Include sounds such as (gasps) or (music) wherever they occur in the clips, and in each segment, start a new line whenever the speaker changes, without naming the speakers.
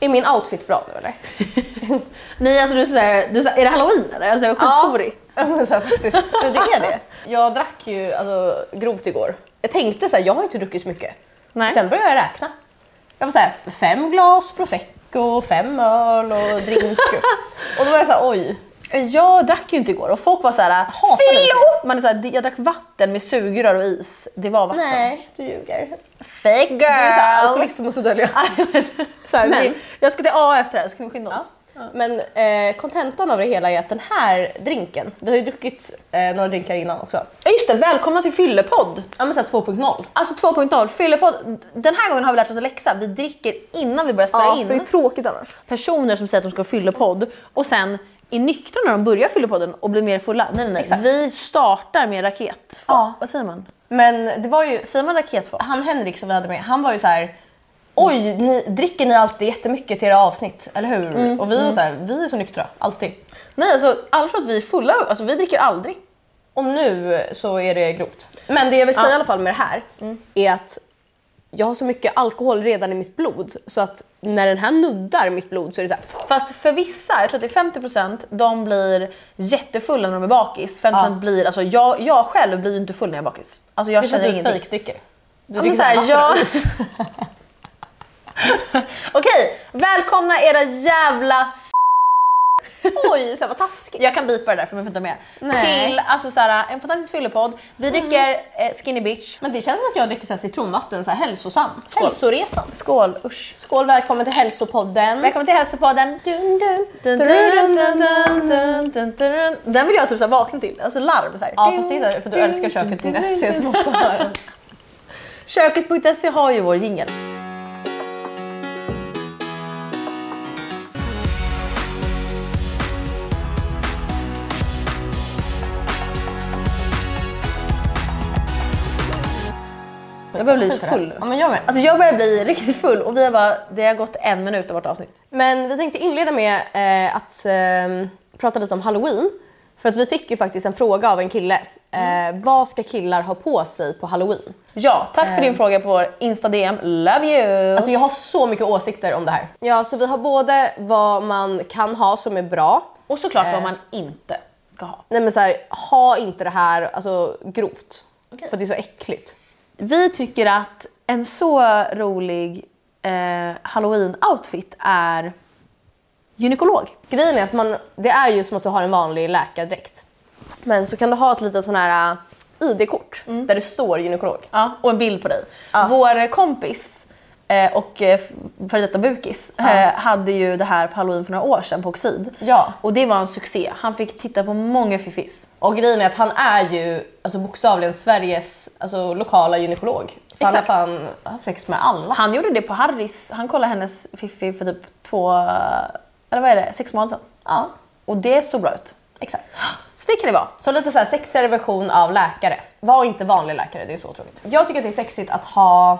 Är min outfit bra nu eller?
Nej alltså du är såhär, du är, såhär, är det halloween eller? Alltså jag är skithorig.
Ja, men så här, faktiskt. Men det är det. Jag drack ju alltså, grovt igår. Jag tänkte så här, jag har inte druckit så mycket.
Nej.
Sen började jag räkna. Jag var så här, fem glas prosecco, fem öl och (laughs) drink. och då var jag så här, oj.
Jag drack ju inte igår och folk var såhär
hatar
“Fillo!” Man är såhär, jag drack vatten med sugrör och is. Det var vatten.
Nej, du ljuger.
Fake girl!
Du är så här, alkoholism och så döljer jag.
liksom Så här,
Men-
vi, jag ska till A efter det här, så kan vi skynda oss?
(laughs) Ja. Men eh, kontentan av det hela är att den här drinken, vi har ju druckit eh, några drinkar innan också.
Ja. Just det, välkomna till Fyllepodd!
Ja men såhär 2.0.
Alltså 2.0, Fyllepodd. Den här gången har vi lärt oss en läxa. Vi dricker innan vi börjar spela in.
tråkigt annars.
Personer som säger att de ska ha Fyllepodd och sen är nyktra när de börjar Fyllepodden och blir mer fulla. Nej nej nej,
Exakt.
vi startar med raket.
Ja.
Vad säger man?
Men det var ju,
Säger man raketfart?
han Henrik som vi hade med, han var ju så här. Oj, ni, dricker ni alltid jättemycket till era avsnitt, eller hur?
Mm,
och vi var så här, vi är så nyktra, alltid.
Nej alltså alla tror att vi är fulla, alltså vi dricker aldrig.
Och nu så är det grovt. Men det jag vill säga i alla fall med det här
Mm.
är att jag har så mycket alkohol redan i mitt blod så att när den här nuddar mitt blod så är det så här,
Fast för vissa, jag tror att det är 50% de blir jättefulla när de är bakis. 50%
Ja.
blir, alltså jag, jag själv blir ju inte full när jag är bakis. Alltså jag
det är för
känner
att du
ingenting.
fejkdricker. Du
Ja, men
dricker
så här,
vatten
jag-
och is.
(laughs) Okej, välkomna era jävla s-
(laughs) Oj, så här, vad taskigt.
jag kan bipa det där för man får inte vara med.
Nej. Mm.
Till alltså såhär, en fantastisk fyllepodd. Vi dricker eh, skinny bitch.
Men det känns som att jag dricker så här citronvatten, så här hälsosam.
Skål.
Hälsoresan.
Skål, usch.
Skål, välkommen till hälsopodden.
Välkommen till hälsopodden.
Dun, dun.
Dun, dun, dun, dun, dun, dun, dun. Den vill jag typ så här vakna till, alltså larm. Så här.
Ja fast det är så här, för du älskar köket.se som också har...
Köket.se E har ju vår jingel. Jag börjar bli så full nu.
Ja men jag med.
Alltså jag börjar bli riktigt full och vi har bara, det har gått en minut av vårt avsnitt.
Men vi tänkte inleda med eh, att eh, prata lite om halloween. För att vi fick ju faktiskt en fråga av en kille. Eh, vad ska killar ha på sig på halloween?
Ja, tack för
Eh.
din fråga på vår Insta-DM. Love you!
Alltså jag har så mycket åsikter om det här. Ja så vi har både vad man kan ha som är bra.
och såklart vad man inte ska ha.
Nej men så här, ha inte det här alltså, grovt.
Okej.
För det är så äckligt.
Vi tycker att en så rolig eh, halloween-outfit är gynekolog.
Grejen är att man, det är ju som att du har en vanlig läkardräkt. Men så kan du ha ett litet sån här äh, ID-kort där det står gynekolog.
Ja, och en bild på dig.
Ja.
Vår kompis eh, och eh, före detta bukis eh, hade ju det här på halloween för några år sedan på Oxid.
Ja.
Och det var en succé. Han fick titta på många fiffis.
Och grejen är att han är ju alltså, bokstavligen Sveriges alltså, lokala gynekolog. För han har
Exakt.
fan haft sex med alla.
Han gjorde det på Harris. Han kollade hennes fiffi för typ två, eller vad är det, sex månader sedan.
Ja,
Och det såg bra ut.
exakt.
Så det kan det vara.
Så lite så här sexigare version av läkare. Var inte vanlig läkare, det är så tråkigt. Jag tycker att det är sexigt att ha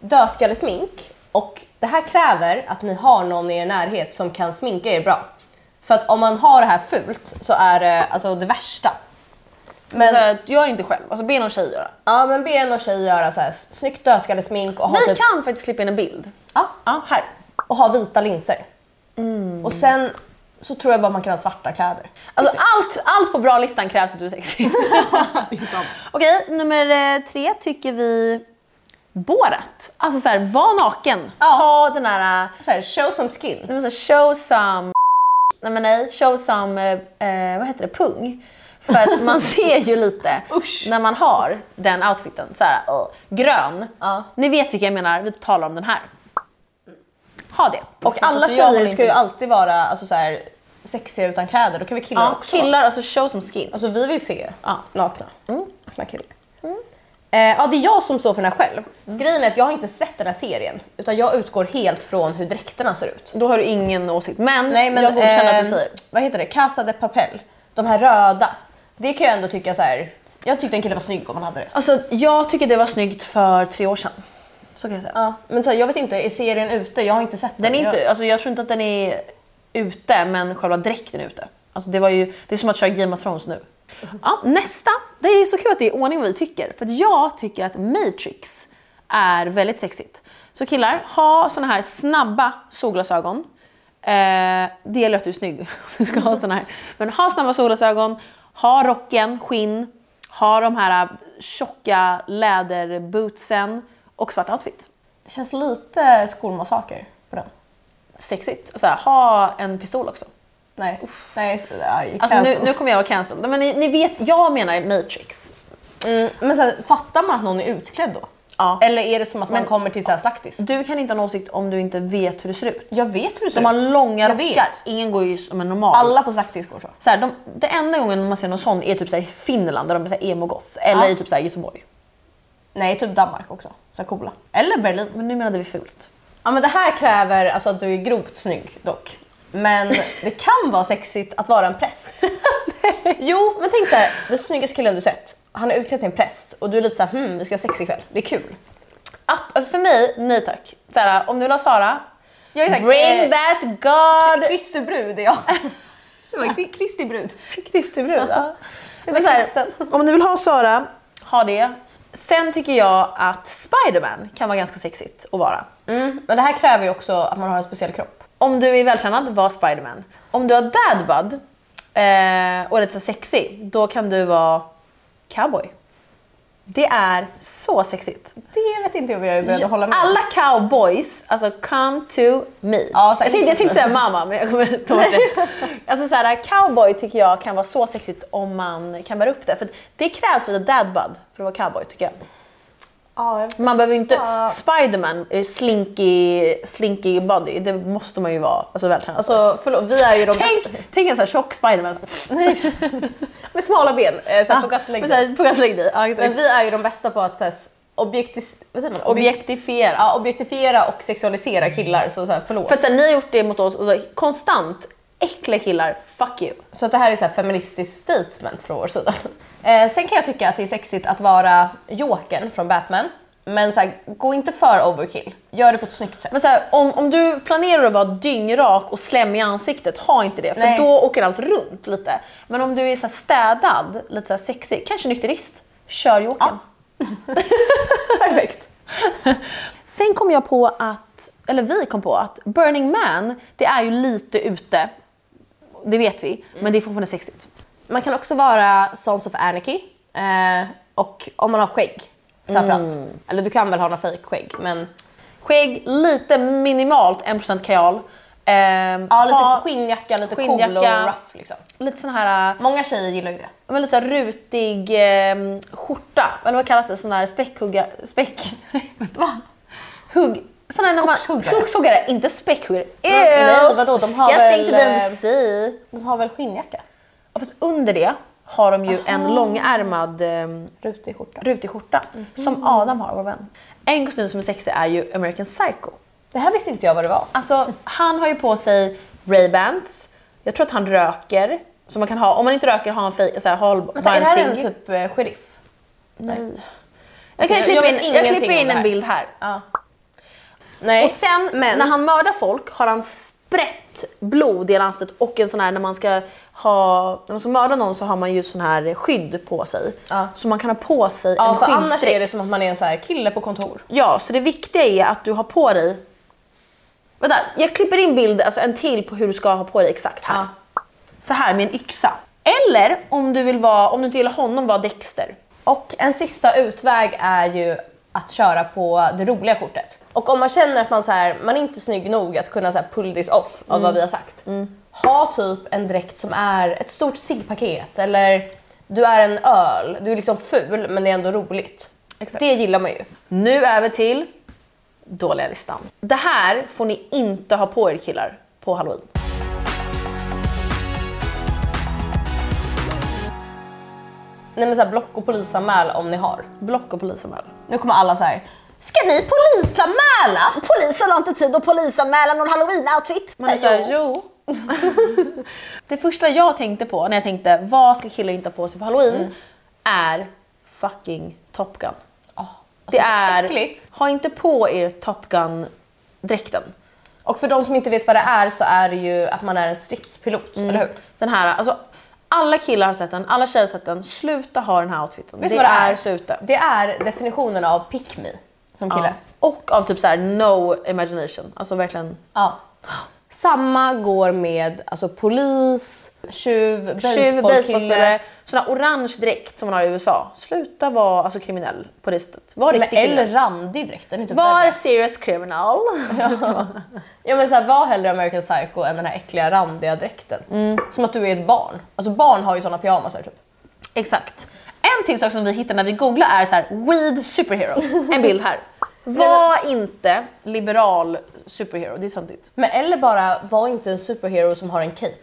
dödskallesmink och det här kräver att ni har någon i er närhet som kan sminka er bra. För att om man har det här fult så är det alltså, det värsta. Men,
Så att, gör inte själv, alltså be någon tjej göra.
ja, men be en och tjej göra så här, snyggt dödskallesmink och ha,
Vi
typ,
kan faktiskt klippa in en bild.
ja,
Ja, här.
och ha vita linser. Och sen så tror jag bara man kan ha svarta kläder.
Alltså allt, allt på bra-listan krävs att du
(laughs)
är sexig. Okej, nummer eh, tre tycker vi Borat. Alltså såhär, var naken.
Ja.
Ha den där, eh,
så här, show some skin.
nej men så här, show some Nej men nej, show some, eh, eh, vad heter det, pung. För
(laughs)
att man ser ju lite
Usch.
när man har den outfiten. Så här, eh, grön.
Ja.
Ni vet vilka jag menar, vi talar om den här. Ha det.
Och alla
Alltså, jag
tjejer
håller
ska ju
inte-
alltid vara alltså, så här, sexiga utan kläder, då kan vi killar
Ja,
också.
killar, alltså show som skin.
Alltså vi vill se
Ja. Mm.
nakna. nakna killar. Eh, ja, det är jag som står för den här själv.
Mm.
Grejen är att jag har inte sett den här serien, utan jag utgår helt från hur dräkterna ser ut.
Då har du ingen åsikt. Men,
Nej, men,
jag godkänner att du
eh,
säger.
Vad heter det? Casa de Papel. De här röda. Det kan jag ändå tycka så här. Jag tyckte en kille var snygg om han hade det.
Alltså, jag tycker det var snyggt för tre år sedan. Så kan jag säga.
Ja, men så här, jag vet inte, är serien ute? Jag har inte sett den.
Den är
jag...
inte, alltså, jag tror inte att den är ute, men själva dräkten är ute. Alltså, det, var ju, det är som att köra Game of Thrones nu. Ja, nästa. Det är så kul att det är ordning vad vi tycker. För att jag tycker att Matrix är väldigt sexigt. Så killar, ha såna här snabba solglasögon. Eh, det låter ju snygg (laughs) du ska ha såna här. Men ha snabba solglasögon, ha rocken, skinn, ha de här äh, tjocka läderbootsen och svart outfit.
Det känns lite skolmassaker på den.
Sexigt. Och Så här, ha en pistol också.
Nej, nej, s- aj,
Alltså nu,
cancel.
nu kommer jag vara cancelled. Men ni, ni vet, jag menar Matrix.
mm, men så här, fattar man att någon är utklädd då?
Ja.
Eller är det som att man kommer till så här slaktis?
Du kan inte ha en åsikt om du inte vet hur det ser ut.
Jag vet hur det ser
De har
ut.
långa
Jag vet.
rockar. Ingen går ju som en normal.
Alla på slaktis går så.
Så här, de, det enda gången man ser någon sån är typ så här i Finland där de är så här emo-goth. Eller
Ja.
i typ så här Göteborg.
Nej, typ Danmark också. Så här coola. Eller Berlin.
Men nu menade vi fult.
Ja men det här kräver alltså att du är grovt snygg dock. Men det kan vara sexigt att vara en (laughs) präst. jo, men tänk så här, den snyggaste killen du sett, han är utklädd till en präst och du är lite så här, hmm, vi ska ha sex ikväll, det är kul.
App, alltså för mig, nej tack. Så här, om du vill ha Sara,
Jag är så här,
bring
eh,
that God!
Kristi brud är jag. Så bara, "Kri- (laughs) Kristi brud.
Kristi brud. ja.
Jag är
(laughs) Men
så
så
här,
här, om du vill ha Sara, ha det. Sen tycker jag att Spiderman kan vara ganska sexigt att vara.
mm, men det här kräver ju också att man har en speciell kropp.
Om du är vältränad, var Spiderman. Om du har dadbud eh, och är lite så sexig, då kan du vara cowboy. Det är så sexigt.
Det vet inte jag om jag är beredd att hålla med om.
Alla cowboys, alltså come to me.
Ja, säkert.
jag, tänkte, jag tänkte säga mamma, men jag kommer ta bort
(laughs)
det. Alltså så här, cowboy tycker jag kan vara så sexigt om man kan bära upp det. För det krävs lite dadbud för att vara cowboy tycker jag.
Ja, jag vet.
Man behöver ju inte...
Ja.
Spiderman är ju slinky, slinky body, det måste man ju vara. Alltså vältränad.
Alltså förlåt, vi är ju de
Tänk, tänk en sån här tjock Spiderman.
bästa. (laughs) med smala ben, eh, så här, på gott lägg
Men Ah, så här, på gott lägg dig. Ja,
Men
exakt.
vi är ju de bästa på att så här, objektis- vad säger man? Objek-
Objektifiera.
ja, objektifiera och sexualisera killar, så, så här, förlåt.
För att så här, ni har gjort det mot oss och så här, konstant. Äckliga killar, fuck you.
så att det här är så här feministiskt statement från vår sida. (laughs) Eh, sen kan jag tycka att det är sexigt att vara Jokern från Batman, men så här, gå inte för overkill. Gör det på ett snyggt sätt. (laughs)
Men så här, om, om du planerar att vara dyngrak och slem i ansiktet, ha inte det. För
Nej.
då åker allt runt lite. Men om du är så här städad, lite så här sexig, kanske nykterist, kör jokern.
Perfekt.
Sen kom jag på att, eller vi kom på att Burning Man, det är ju lite ute. Det vet vi,
Mm.
men det är fortfarande sexigt.
Man kan också vara Sons of Anarchy, eh, och om man har skägg framförallt. Eller du kan väl ha några fejkskägg, men
Skägg, lite minimalt 1% kajal. Ehm,
ja, lite
ha-
skinnjacka, lite cool och
skinnjacka.
rough. Liksom.
lite sån här,
Många tjejer gillar ju det.
äh, men lite så här rutig ehm, skjorta. Eller vad kallas det? Sån här späckhugga... Späck...
(laughs)
(laughs)
Va?
Hugg... Sån här när man-
Skogshuggare.
Skogshuggare, inte späckhuggare.
nej, vadå, de har
Disgusting
väl,
to be
eh,
see.
De har väl skinnjacka?
Ja, Fast under det har de ju en långärmad ehm,
Rutig skjorta.
rutig skjorta
Mhm.
som Adam har, vår vän. En kostym som är sexig är ju American Psycho.
Det här visste inte jag vad det var.
Alltså, han har ju på sig Ray-Bans, jag tror att han röker. Så man kan ha, om man inte röker, ha en, fej, så här, ha,
Vänta,
ha
är det här
en
en
cigg.
typ eh, sheriff?
Nej. Jag, kan,
Jag-
jag, klipper
jag vet
in, jag
ingenting
klipper
om
in
det här.
en bild här.
Ja. Nej.
Och sen
men,
när han mördar folk har han sprätt blod i hela ansiktet och en sån här när man ska ha, när man ska mörda någon så har man ju sån här skydd på sig.
Ja.
Så man kan ha på sig
ja,
en
för annars
skyddsdräkt.
är det som att man är en så här kille på kontor.
Ja, så det viktiga är att du har på dig... Vänta, jag klipper in bild, alltså en till på hur du ska ha på dig exakt här.
Ja.
Så här med en yxa. Eller om du, vill vara, om du inte gillar honom, vara Dexter.
Och en sista utväg är ju att köra på det roliga kortet. Och om man känner att man, så här, man är inte är snygg nog att kunna så här pull this off av
Mm.
vad vi har sagt. Ha typ en dräkt som är ett stort ciggpaket eller du är en öl. Du är liksom ful men det är ändå roligt.
Exakt.
Det gillar man ju.
Nu över till dåliga listan. Det här får ni inte ha på er killar på halloween.
Nej, men så här, block och polisanmäl om ni har.
Block och polisanmälan.
Nu kommer alla så här. Ska ni polisanmäla?
Polisen har inte tid att polisanmäla någon halloween-outfit.
Man är
säger
såhär, jo. (laughs) det första jag tänkte på när jag tänkte vad ska killar inte ha på sig på halloween är fucking Top Gun.
Oh,
Det är,
äckligt.
ha inte på er Top Gun-dräkten.
Och för de som inte vet vad det är så är det ju att man är en stridspilot, eller hur?
Den här, alltså alla killar har sett den, alla tjejer har sett den. Sluta ha den här outfiten.
Vet du
det
vad det
är
är?
så ute.
Det är definitionen av pick me. Så som kille.
Och av typ så här no imagination. Alltså verkligen.
Ja. Samma går med alltså, polis, tjuv,
Tjuv,
basebollkille.
basebollspelare, sån här orange dräkt som man har i USA. Sluta vara alltså, kriminell på det sättet. Var
Men
riktig
eller
kriminell.
randig dräkt, den är typ
Var
värre.
serious criminal.
Ja men såhär, var hellre American Psycho än den här äckliga randiga dräkten. Som att du är ett barn. Alltså barn har ju såna pyjamasar typ.
Exakt. En till sak som vi hittar när vi googlar är så här, weed superhero. En bild
(laughs)
här. Var inte liberal superhero, det är töntigt.
Men eller bara, var inte en superhero som har en cape.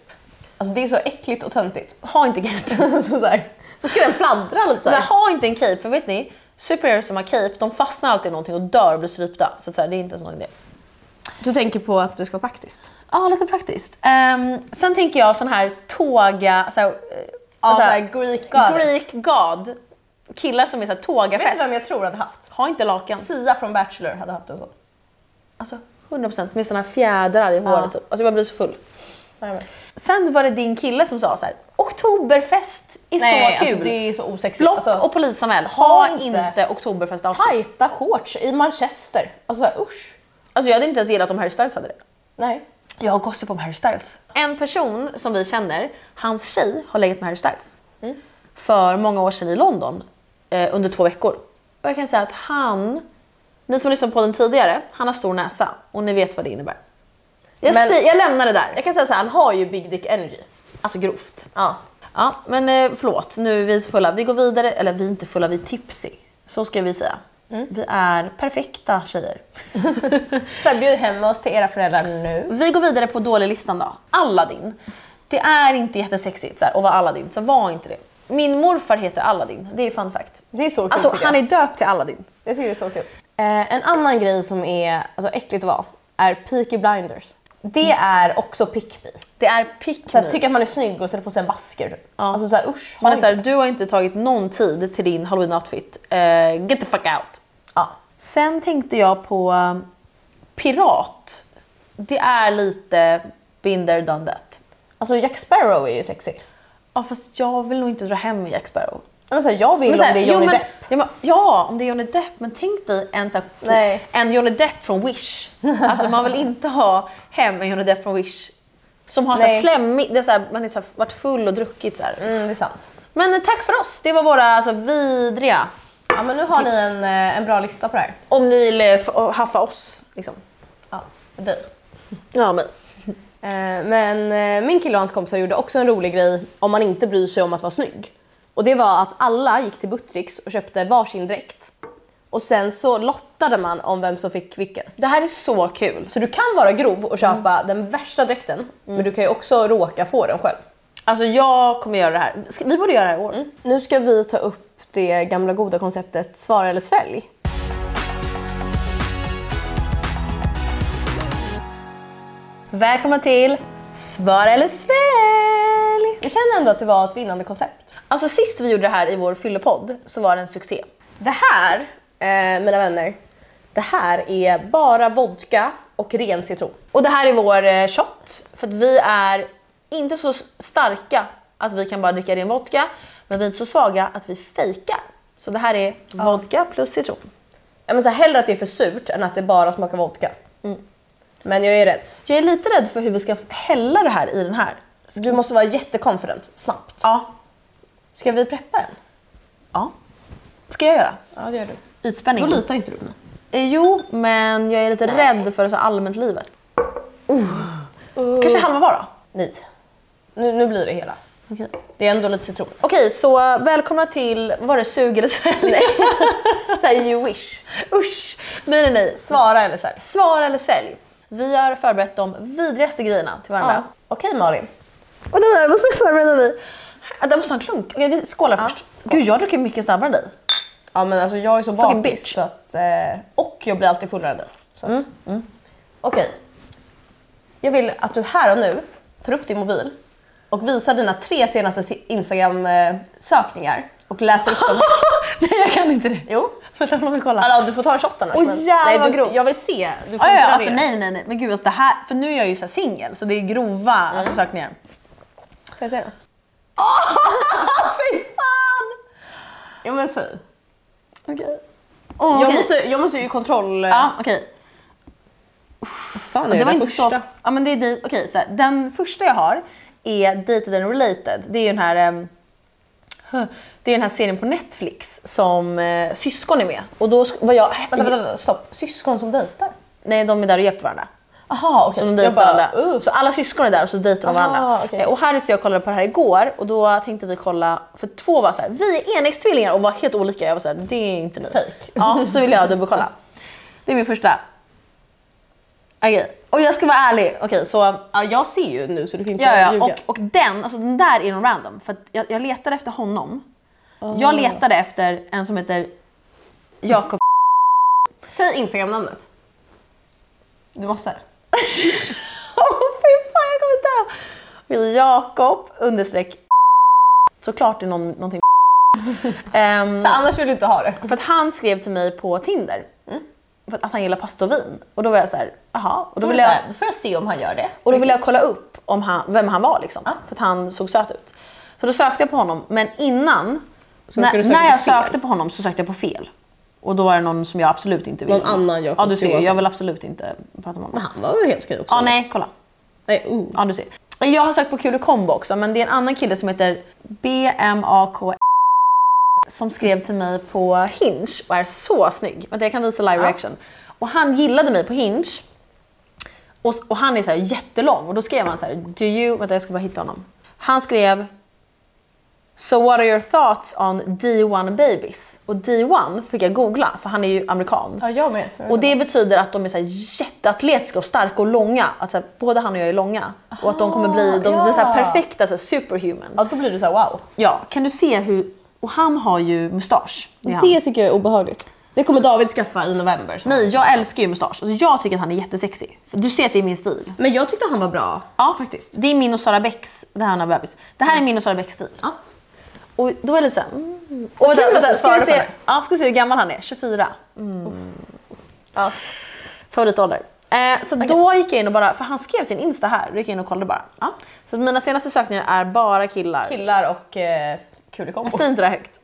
Alltså det är så äckligt och töntigt. (laughs)
Ha inte cape.
så, så, här, så ska den fladdra lite
Så
såhär.
här, ha inte en cape, för vet ni? Superheroes som har cape, de fastnar alltid i någonting och dör och blir strypta. Så, att så här, det är inte ens någon idé.
Du tänker på att det ska vara praktiskt?
Ja, lite praktiskt. Ehm, sen tänker jag sån här tåga... Så här, eh,
Ja,
vänta.
såhär Greek goddess.
Greek god. Killar som är så här
Vet du
tågafest.
vem jag tror hade haft?
Ha inte lakan.
Sia från Bachelor hade haft en sån.
Alltså 100% med såna här fjädrar i håret. Alltså jag bara blir så full.
Nej, men.
Sen var det din kille som sa så här: oktoberfest är
Nej,
så kul.
Alltså, det är så osexigt.
Block
alltså,
och polisanmäl, ha
inte-
inte, oktoberfest
tajta shorts i Manchester. Alltså såhär, usch.
Alltså jag hade inte ens gillat om Harry Styles hade det.
Nej.
Jag har gossip om Harry Styles. En person som vi känner, hans tjej har legat med Harry Styles. För många år sedan i London, eh, under två veckor. Och jag kan säga att han, ni som har lyssnat på den tidigare, han har stor näsa. Och ni vet vad det innebär. Jag,
Men-
säger, jag lämnar det där.
Jag kan säga såhär, han har ju big dick energy.
Alltså grovt.
Ja.
Ja, men eh, förlåt, nu är vi fulla. Vi går vidare, eller vi är inte fulla, vi är tipsy. Så ska vi säga.
Mm.
Vi är perfekta tjejer. (laughs)
Så här, bjud hem oss till era föräldrar nu.
Vi går vidare på dålig listan då. Aladdin. Det är inte jättesexigt så här, att vara Aladdin, så var inte det. Min morfar heter Aladdin, det är fun fact.
Det är så kul
Alltså
tycker
han
jag.
är döpt till Aladdin.
jag tycker det är så kul. Eh, en annan grej som är alltså, äckligt att vara är Peaky Blinders. Det är också pick me.
Det är pick
Såhär,
me.
tycker att man är snygg och sätter på sig en basker. typ.
Ja.
Alltså såhär usch. ha
Man är
inte
så här, du har inte tagit någon tid till din halloween-outfit. Eh, get the fuck out.
det. Ja.
Sen tänkte jag på eh, pirat. Det är lite been there done that.
Alltså Jack Sparrow är ju sexy.
Ja fast jag vill nog inte dra hem Jack Sparrow.
Men såhär, jag vill
Men så här,
om det är Johnny
jo, men,
Depp.
Ja, men, ja, om det är Johnny Depp, men tänk dig en, så här,
Nej.
en Johnny Depp från Wish. Alltså man vill inte ha hem en Johnny Depp från Wish. Som har så här
Nej.
slemmig, det är så här, man har så här, varit full och druckit så här.
Mm, det är sant.
Men eh, tack för oss, det var våra alltså, vidriga.
Ja men nu har ni en, eh, en bra lista på det här.
Om ni vill eh, f- haffa oss. Liksom.
Ja, för dig.
Ja, men.
Eh, Men eh, min kille och hans kompisar gjorde också en rolig grej om man inte bryr sig om att vara snygg. Och det var att alla gick till Buttricks och köpte varsin dräkt. Och sen så lottade man om vem som fick vilken.
Det här är så kul.
Så du kan vara grov och köpa den värsta dräkten men du kan ju också råka få den själv.
Alltså jag kommer göra det här. Ska- Vi borde göra det här i år.
Nu ska vi ta upp det gamla goda konceptet svara eller svälj.
Välkomna till Svara eller svälj!
Jag känner ändå att det var ett vinnande koncept.
Alltså sist vi gjorde det här i vår fyllepodd så var det en succé.
Det här, eh, mina vänner, det här är bara vodka och ren citron.
Och det här är vår eh, shot, för att vi är inte så s- starka att vi kan bara dricka ren vodka, men vi är inte så svaga att vi fejkar. Så det här är vodka plus citron.
Ja, men så här, hellre att det är för surt än att det bara smakar vodka. Men jag är rädd.
Jag är lite rädd för hur vi ska f- hälla det här i den här.
Så du måste vara jätteconfident, snabbt.
Ja.
Ska vi preppa en?
ja. Ska jag göra?
Ja, det gör du.
Ytspänning.
inte du på mig.
Eh, Jo, men jag är lite rädd för så allmänt livet. Oh. Uh. Kanske halva var då?
Nej. Nu, nu blir det hela.
Okej,
Det är ändå lite citron.
Okej, så välkomna till, vad var det, sug eller svälj?
Så här, you wish.
Usch! (laughs) Nej, nej, nej.
Svara eller så här.
Svara eller svälj. Vi har förberett de vidrigaste grejerna till varandra.
Ja. Okej Malin.
Och den där måste förbereda vi. Jag Ah, måste ha en klunk. Okej, vi skålar först. Gud, jag dricker mycket snabbare än dig.
Ja men alltså jag är så
Fucking
bakis
bitch. Mm,
så att... Eh, och jag blir alltid fullare än dig. Så att- Okej. Jag vill att du här och nu tar upp din mobil och visar dina tre senaste si- Instagram-sökningar och läser upp dem
(gasps)
högt.
(laughs) nej, jag kan inte (laughs) det.
Jo.
Vänta, låt mig kolla.
Alltså, du får ta en shot annars.
Åh, jävlar, vad
du,
grovt.
jag vill se. Du får
Ja,
inte
ja,
radera.
alltså nej, nej, nej. Men gud, alltså det här. För nu är jag ju så här singel, så det är grova alltså, sökningar.
Får jag
(laughs)
se då?
Fy fan!
Ja men säg.
Okej.
Oh,
Jag, måste, jag måste ju kontroll... eh,
Ja, okej.
Vad fan är
Det var inte
första?
så... Ja, men det är di- okej, så här, den första jag har är Dated and related. Det är ju den här... ehm, huh, det är den här serien på Netflix som eh, syskon är med. Och då sk- var jag...
Vänta, vänta, vänta, stopp. Syskon som dejtar?
Nej, de är där och hjälper varandra.
Aha, okej.
Så de
Jag
dejtar
bara,
varandra.
uh.
Så alla syskon är där och så dejtar de
Aha,
varandra.
okej.
Eh, Och Harris och jag kollade på det här igår och då tänkte vi kolla, för två var så här, vi är enäggstvillingar och var helt olika. Jag var så här, det är inte ni.
Fake.
Ja, så ville jag dubbelkolla. Det är min första. Okej, och jag ska vara ärlig. Okej, så
Ja, jag ser ju nu så du kan inte
Ja, ja.
ljuga.
Och, och den, alltså den där är någon random. För att jag, jag letade efter honom. Jag letade efter en som heter Jakob
Ah. Säg Instagram-namnet. Du måste.
Åh fy fan, jag kommer inte ihåg. Jakob understreck Såklart det är någon, någonting Ehm,
Så annars vill du inte ha det.
För att han skrev till mig på Tinder. För att- att han gillar pasta och vin. Och då var jag så här, jaha. Och då
Då vill
ville jag,
jag... Då får jag se om han gör det.
och då ville jag kolla upp om han, vem han var liksom.
Ja.
För att han såg söt ut. Så då sökte jag på honom, men innan,
råkade du
när,
söka
när
på
jag
fel.
sökte på honom så sökte jag på fel. Och då var det någon som jag absolut inte ville.
Någon annan Jakob
Ja du ser, jag
Johansson.
vill absolut inte prata med
Men
honom.
han var väl helt okej också?
Ja nej, kolla.
nej uh.
Ja, du ser. Jag har sökt på Kul och kombo också, men det är en annan kille som heter BMAK som skrev till mig på Hinge och är så snygg. Vänta, jag kan visa live
Ja.
reaction. Och han gillade mig på Hinge. Och, och han är så här jättelång och då skrev han så här, do you... Vänta, jag ska bara hitta honom. Han skrev So what are your thoughts on D1 babies? Och D1 fick jag googla, för han är ju amerikan.
Ja, jag med. Jag
Och det betyder att de är så här jätteatletiska och starka och långa. Att så här, både han och jag är långa. och att de kommer bli de,
ja.
den så här perfekta, så här superhuman.
Ja, då blir du så här, wow.
Ah, Ja, kan du se hur... Och han har ju mustasch. Det är han.
Det tycker jag är obehagligt. Det kommer David skaffa i november. så.
Nej, jag älskar ju mustasch. Alltså, jag tycker att han är jättesexig. För du ser att det är min stil.
Men jag tyckte han var bra.
Ja,
Faktiskt.
Det är min och Sara Bäcks, det här när jag var bebis. Det här är min och Sara Bäcks stil.
Ja.
Och då är det lite såhär... Mm. Och
kul att du
ska vi
svarar på
se,
det.
ja, ska vi se hur gammal han är? 24.
ja.
Favoritålder. Eh, så då gick jag in och bara, för han skrev sin Insta här, då gick jag in och kollade bara.
Ja.
Så att mina senaste sökningar är bara killar.
Killar och eh, kulekombo.
Jag säger inte det här högt.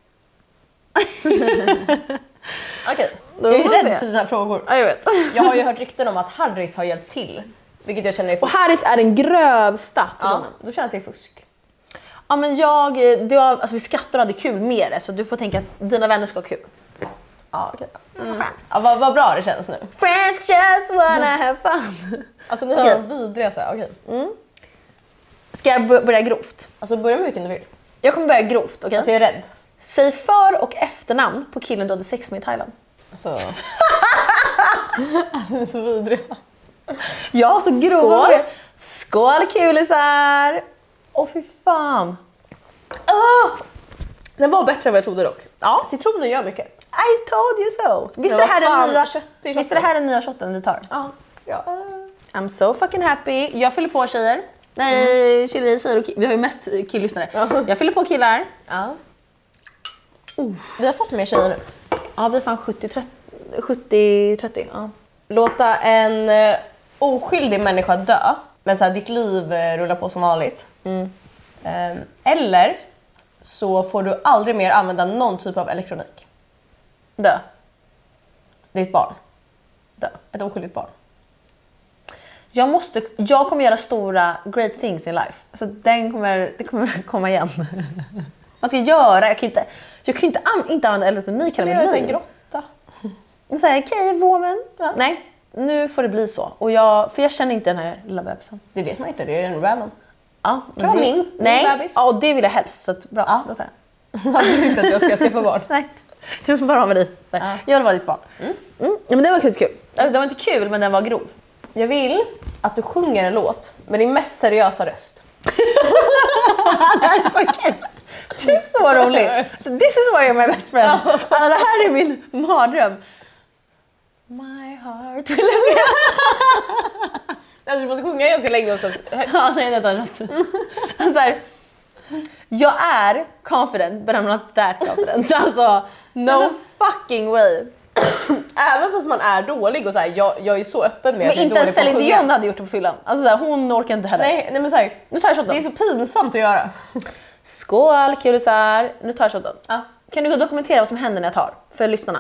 Okej.
Då
Jag är ju
får vi se.
rädd för dina frågor.
Ja, jag vet.
Jag har ju hört rykten om att Harris har hjälpt till. Vilket jag känner är
Och
fusk.
Harris är den grövsta
Ja,
personen. Ja.
då känner jag att det är fusk.
men jag, eh, det var, alltså vi skrattade och hade kul med det så du får tänka att dina vänner ska ha kul.
Ja, okej. Ja, vad, vad bra det känns nu.
Friends just wanna have fun.
Alltså nu har
Okej.
de vidriga så här, okej.
Ska jag bör- börja grovt?
Alltså börja med vilken du vill.
Jag kommer börja grovt, okej?
Alltså jag är rädd.
Säg för och efternamn på killen du hade sex med i Thailand.
Alltså... (laughs) så vidriga.
Ja, så grova
Skål.
Skål. Skål kulisar! Åh fy fan.
Ah! Den var bättre än vad jag trodde dock.
Ja.
Citronen gör mycket.
Alltså, I told you so! Visst är det
vad
här
fan,
den nya,
kött i
visst är det
shoppen.
här den nya shotten vi tar?
Ja. ja.
I'm so fucking happy. Jag fyller på tjejer. Nej, tjejer, tjejer och ki- Vi har ju mest killlyssnare.
Ja.
Jag fyller på killar.
ja. Ah. Uh. Vi har fått mer tjejer nu.
Ja, vi är fan 70-30. 70-30. Ja.
Låta en eh, oskyldig människa dö, men så här, ditt liv eh, rullar på som vanligt. Ehm, eller så får du aldrig mer använda någon typ av elektronik.
Dö.
Ditt barn.
Dö.
Ett oskyldigt barn.
Jag, måste, jag kommer göra stora great things in life. Så den kommer, det kommer (laughs) komma igen. Vad ska jag göra? Jag kan ju inte, jag kan ju inte, an, inte använda elektronik hela
Eller
mitt
jag en
liv.
grotta.
Så här, Okej, woman.
Ja.
Nej, nu får det bli så. Och jag, för jag känner inte den här lilla bebisen.
Det vet man inte, det är en random.
Ja, men
vara
det-
min, min
Nej,
bebis.
ja, och det vill jag helst. Så att, bra,
Ja.
då tar jag.
Man vill inte att jag ska skaffa barn.
Nej, (laughs) jag vill bara vara med dig. Så här, Jag vill vara ditt barn. Mm, ja, men det var skitkul. Alltså, det var inte kul, men den var grov. (laughs)
Jag vill att du sjunger en låt med din mest seriösa röst.
Det här är så kul. Du är så rolig. This is why you're my best friend. Alltså, det här är min mardröm. My heart will... (laughs)
Alltså, du måste sjunga ganska länge och så...
Alltså, jag vet
(laughs)
inte. Alltså, så här, jag är confident, but I'm not that confident. Alltså, no fucking way.
Även fast man är dålig och så här, jag, jag är så öppen med
Men
att jag är
inte ens
dålig på att
Celine
sjunga.
Dion hade gjort det på fyllan. Alltså, så här, hon orkar inte heller.
Nej, nej men så här,
Nu tar jag shotten.
det är så pinsamt att göra.
Skål kulisar! Nu tar jag shotten.
Ja.
Kan du dokumentera vad som händer när jag tar? För lyssnarna.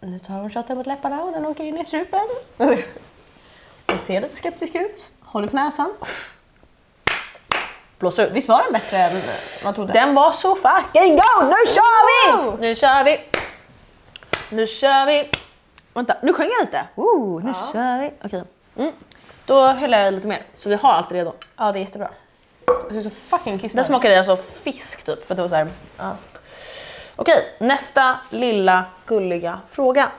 Nu tar hon köttet mot läpparna och den åker in i strupen. Hon ser lite skeptisk ut, håller på näsan.
Blås ut.
Visst var den bättre än man trodde?
Den var så fucking god! Nu kör vi! Nu kör vi! Nu kör vi! Vänta, nu sjöng jag lite.
Oh,
Woo, nu kör vi. Okej. Mm. Då häller jag lite mer, så vi har allt redo.
Ja, det är jättebra. Jag är så fucking
Den
kissnödig.
smakade alltså fisk typ, för att det var så här.
Ja.
Okej, nästa lilla gulliga fråga.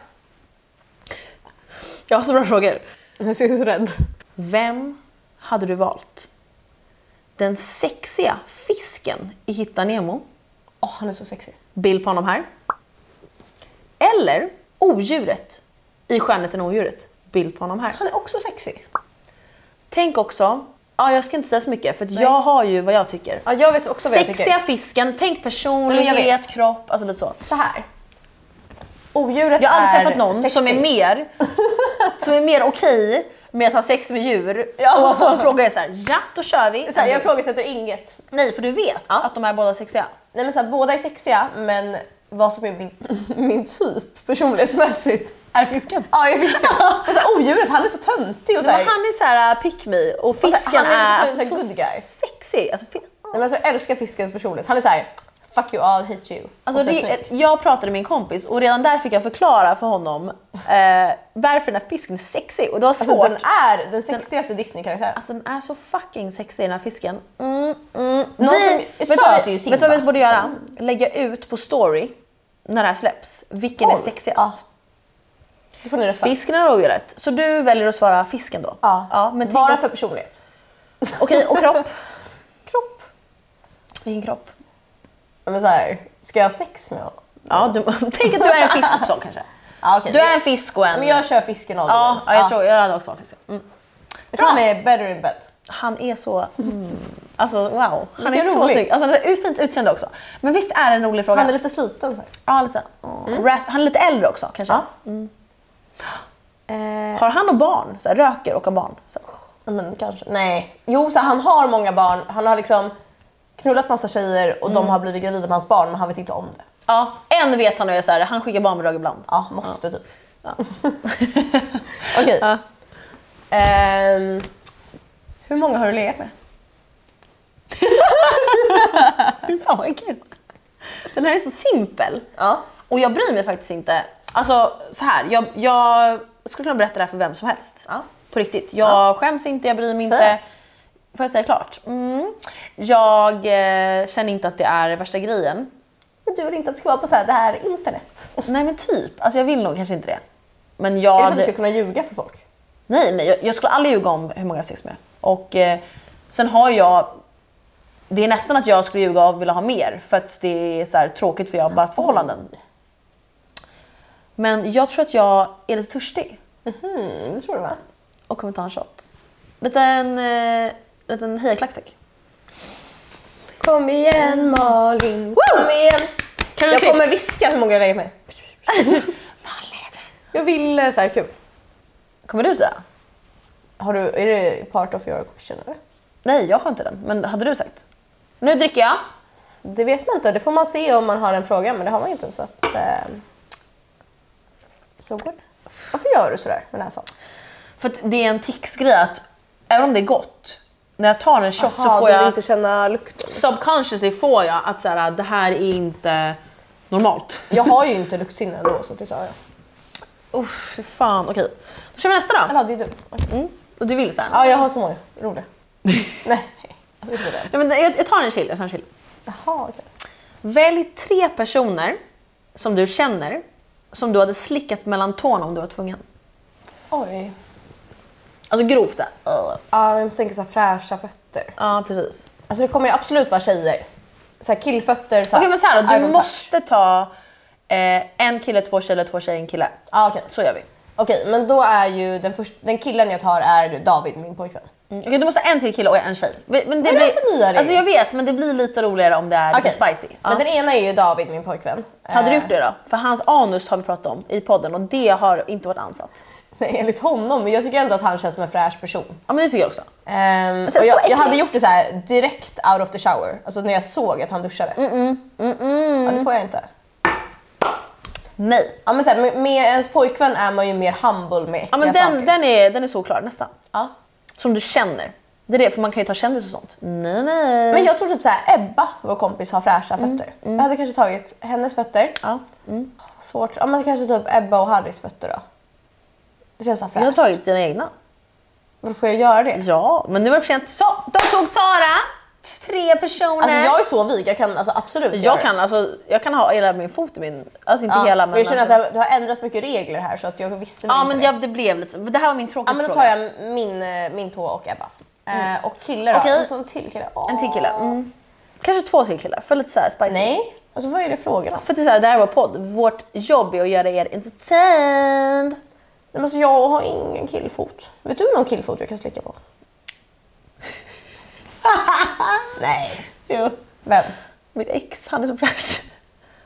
Jag har så bra frågor.
Jag ser så rädd.
Vem hade du valt? Den sexiga fisken i Hitta Nemo,
Åh, han är så sexig.
bild på honom här. Eller odjuret i Skönheten och odjuret, bild på honom här.
Han är också sexig.
Tänk också, ja, jag ska inte säga så mycket för att
Nej.
jag har ju vad jag tycker.
Ja, jag vet också vad jag tycker.
Sexiga fisken, tänk personlighet,
Nej, men jag vet.
kropp, alltså lite så.
Så här. Odjuret
Jag har aldrig
är
träffat någon
sexig.
som är mer
(laughs)
som är mer okej med att ha sex med djur och få en fråga är såhär, ja då kör vi.
Så här, jag ifrågasätter inget.
Nej för du vet att de är båda sexiga.
Nej, men så här, båda är sexiga, men vad som är min, (laughs) min typ personlighetsmässigt är fisken. Ja, jag är
(laughs)
fisken. Fast så här, odjuret, han är så töntig (laughs) och så
Men
här.
han är såhär äh, pick me och
han
fisken
är
är,
lite såhär
alltså, så
good guy.
sexig. Alltså, fin-
Nej, men alltså, jag älskar fiskens personlighet. Han är så här. Fuck you all, hate you.
alltså,
Och så
det,
snygg.
jag pratade med min kompis och redan där fick jag förklara för honom eh, varför den här fisken är sexig och det var svårt.
Alltså, den är den sexigaste Disney-karaktären.
Alltså den är så fucking sexig den här fisken. Mm, mm.
Någon som är
vet, du
söt
vad,
är ju
vi-
Simba. Mm.
vet du vad vi borde göra? Lägga ut på story när det här släpps. Vilken är
Oj,
sexigast?
ja. Då får ni rösta.
Fisken eller odjuret? Så du väljer att svara fisken då?
Ja.
men
Bara
tänk
för personlighet.
Okej, och kropp?
Kropp.
Vilken kropp?
Ja, Men så här, ska jag ha sex med honom?
Ja, du, (laughs) tänk att du är en fisk också kanske.
Ja, okej.
Du är en fisk och en...
Men jag kör fisken all the way.
ja, ja, jag tror jag hade också varit fisken. Mm.
jag tror han är better in bed.
Han är så... Mm. Alltså wow, han är
Vilken
så
rolig.
snygg. Alltså, han har ett fint utseende också. Men visst är det en rolig fråga?
Han är lite sliten. Så här.
Ja, lite, såhär, mm. rasp, han är lite äldre också kanske. Eh,
Ja.
Har han och barn? Så här, röker och har barn? Så här,
Ja, Men kanske. Nej. Jo, så här, han har många barn. Han har liksom knullat massa tjejer och de har blivit gravida med hans barn men han vet inte om det.
ja, en vet han och är så här, han skickar barnbidrag ibland.
Ja, måste typ. (laughs) Okej. Ehm, hur många har du legat med?
Fan vad kul. Den här är så simpel.
Ja.
Och jag bryr mig faktiskt inte. Alltså så här, jag, jag skulle kunna berätta det här för vem som helst.
Ja.
På riktigt. Jag
Ja.
skäms inte, jag bryr mig
Säg
inte. Får jag säga klart? Mm. Jag eh, känner inte att det är värsta grejen.
Men du vill inte att det ska vara på så här, det här är internet?
Nej men typ, alltså jag vill nog kanske inte det. Men jag...
Är det för att du ska kunna ljuga för folk?
Nej, nej, jag, jag skulle aldrig ljuga om hur många jag sex med. Och eh, sen har jag... Det är nästan att jag skulle ljuga och vilja ha mer för att det är så här tråkigt för jag har bara ett förhållanden. Men jag tror att jag är lite törstig
Mm, det tror du va?
och kommer ta en shot. Liten, eh, liten hejaklacktack.
Kom igen Malin, kom igen!
Kan
Jag kommer viska hur många jag lägger med. Jag vill eh, så här kul.
kommer du säga?
Har du, är det part of your question eller?
Nej, jag skönt den. Men hade du sagt? Nu dricker jag.
Det vet man inte, det får man se om man har den frågan men det har man ju inte så att... Eh, so good. Varför gör du sådär med näsan?
För att det är en tics-grej att även om det är gott, när jag tar en shot så
Jaha,
får
du vill
jag...
inte känna lukten.
subconsciously får jag att så här, "Ah, det här är inte normalt.
Jag har ju inte luktsinne ändå så det sa jag.
Uff, fy fan. Okej, då kör vi nästa då.
Eller det är du. Okej.
Mm. Och du vill så här?
Ja, jag har så många.
(laughs)
Roliga. Nej, alltså inte den.
Nej, men jag, jag tar en chill. Jag tar en chill.
Jaha, okej.
Välj tre personer som du känner som du hade slickat mellan tårna om du var tvungen.
Oj.
Alltså grovt. där. Ja,
Ja, jag måste tänka så här fräscha fötter.
precis.
Alltså det kommer ju absolut vara tjejer. Så här killfötter. Så här,
Okej, men så här då.
eye
Du
contact.
måste ta eh, en kille, två tjejer, två tjejer, en kille.
Ja, okej.
Så gör vi.
Okej, men då är ju den, först, den killen jag tar är David, min pojkvän.
Mm. Okej, du måste ha en till kille och en tjej. Men det
är
blir,
för nya regler?
alltså jag vet, men det blir lite roligare om det är lite
Okej.
spicy. Ja.
Men den ena är ju David, min pojkvän.
Hade du
Eh,
gjort det då? För hans anus har vi pratat om i podden och det har inte varit ansatt.
Nej, (laughs) enligt honom, men jag tycker ändå att han känns som en fräsch person.
Ja men det tycker jag också.
Ehm,
så
och jag, jag
äckligt.
hade gjort det så här direkt out of the
Mm,
shower, alltså när jag såg att han duschade. Ja, det får jag inte.
Nej.
Ja, men så här, med, med ens pojkvän är man ju mer humble med äckliga
Ja, men
saker.
den, den, är, den är solklar, nästa.
Ja.
Som du känner. Det är det, för man kan ju ta kändis och sånt. Nej, nej.
Men jag tror typ så här, Ebba, vår kompis, har fräscha
Mm,
fötter. Jag hade kanske tagit hennes fötter.
ja.
Svårt. Ja, men kanske typ Ebba och Harrys fötter då. Det känns så här
Jag har
fräscht.
tagit dina egna.
Varför får jag göra det?
Ja, men nu var det för sent. Så, de tog Tara. Tre personer.
Alltså jag är så vig, jag kan alltså absolut göra
jag,
det.
kan, alltså, jag kan ha hela min fot i min... Alltså inte
Ja,
hela
men jag känner att det
alltså,
har, det har ändrats mycket regler här så att jag visste väl
Ja
inte
men
det.
jag, det blev lite... Det här var min
ja,
tråkigaste
men då tar
fråga.
jag min, eh, min tå och Ebbas. Eh, och kille då?
Mm. Okej.
Och så en till kille. Åh.
En till kille. Mm. Kanske två till killar, för lite såhär spicy.
Nej, alltså vad är det frågan om?
För att det, är så här, det här var podd. Vårt jobb är att göra er entertained.
Nej, men alltså jag har ingen killfot. Vet du någon killfot jag kan slicka
(laughs)
på? Nej.
Jo.
Vem?
Mitt ex, han är så fräsch.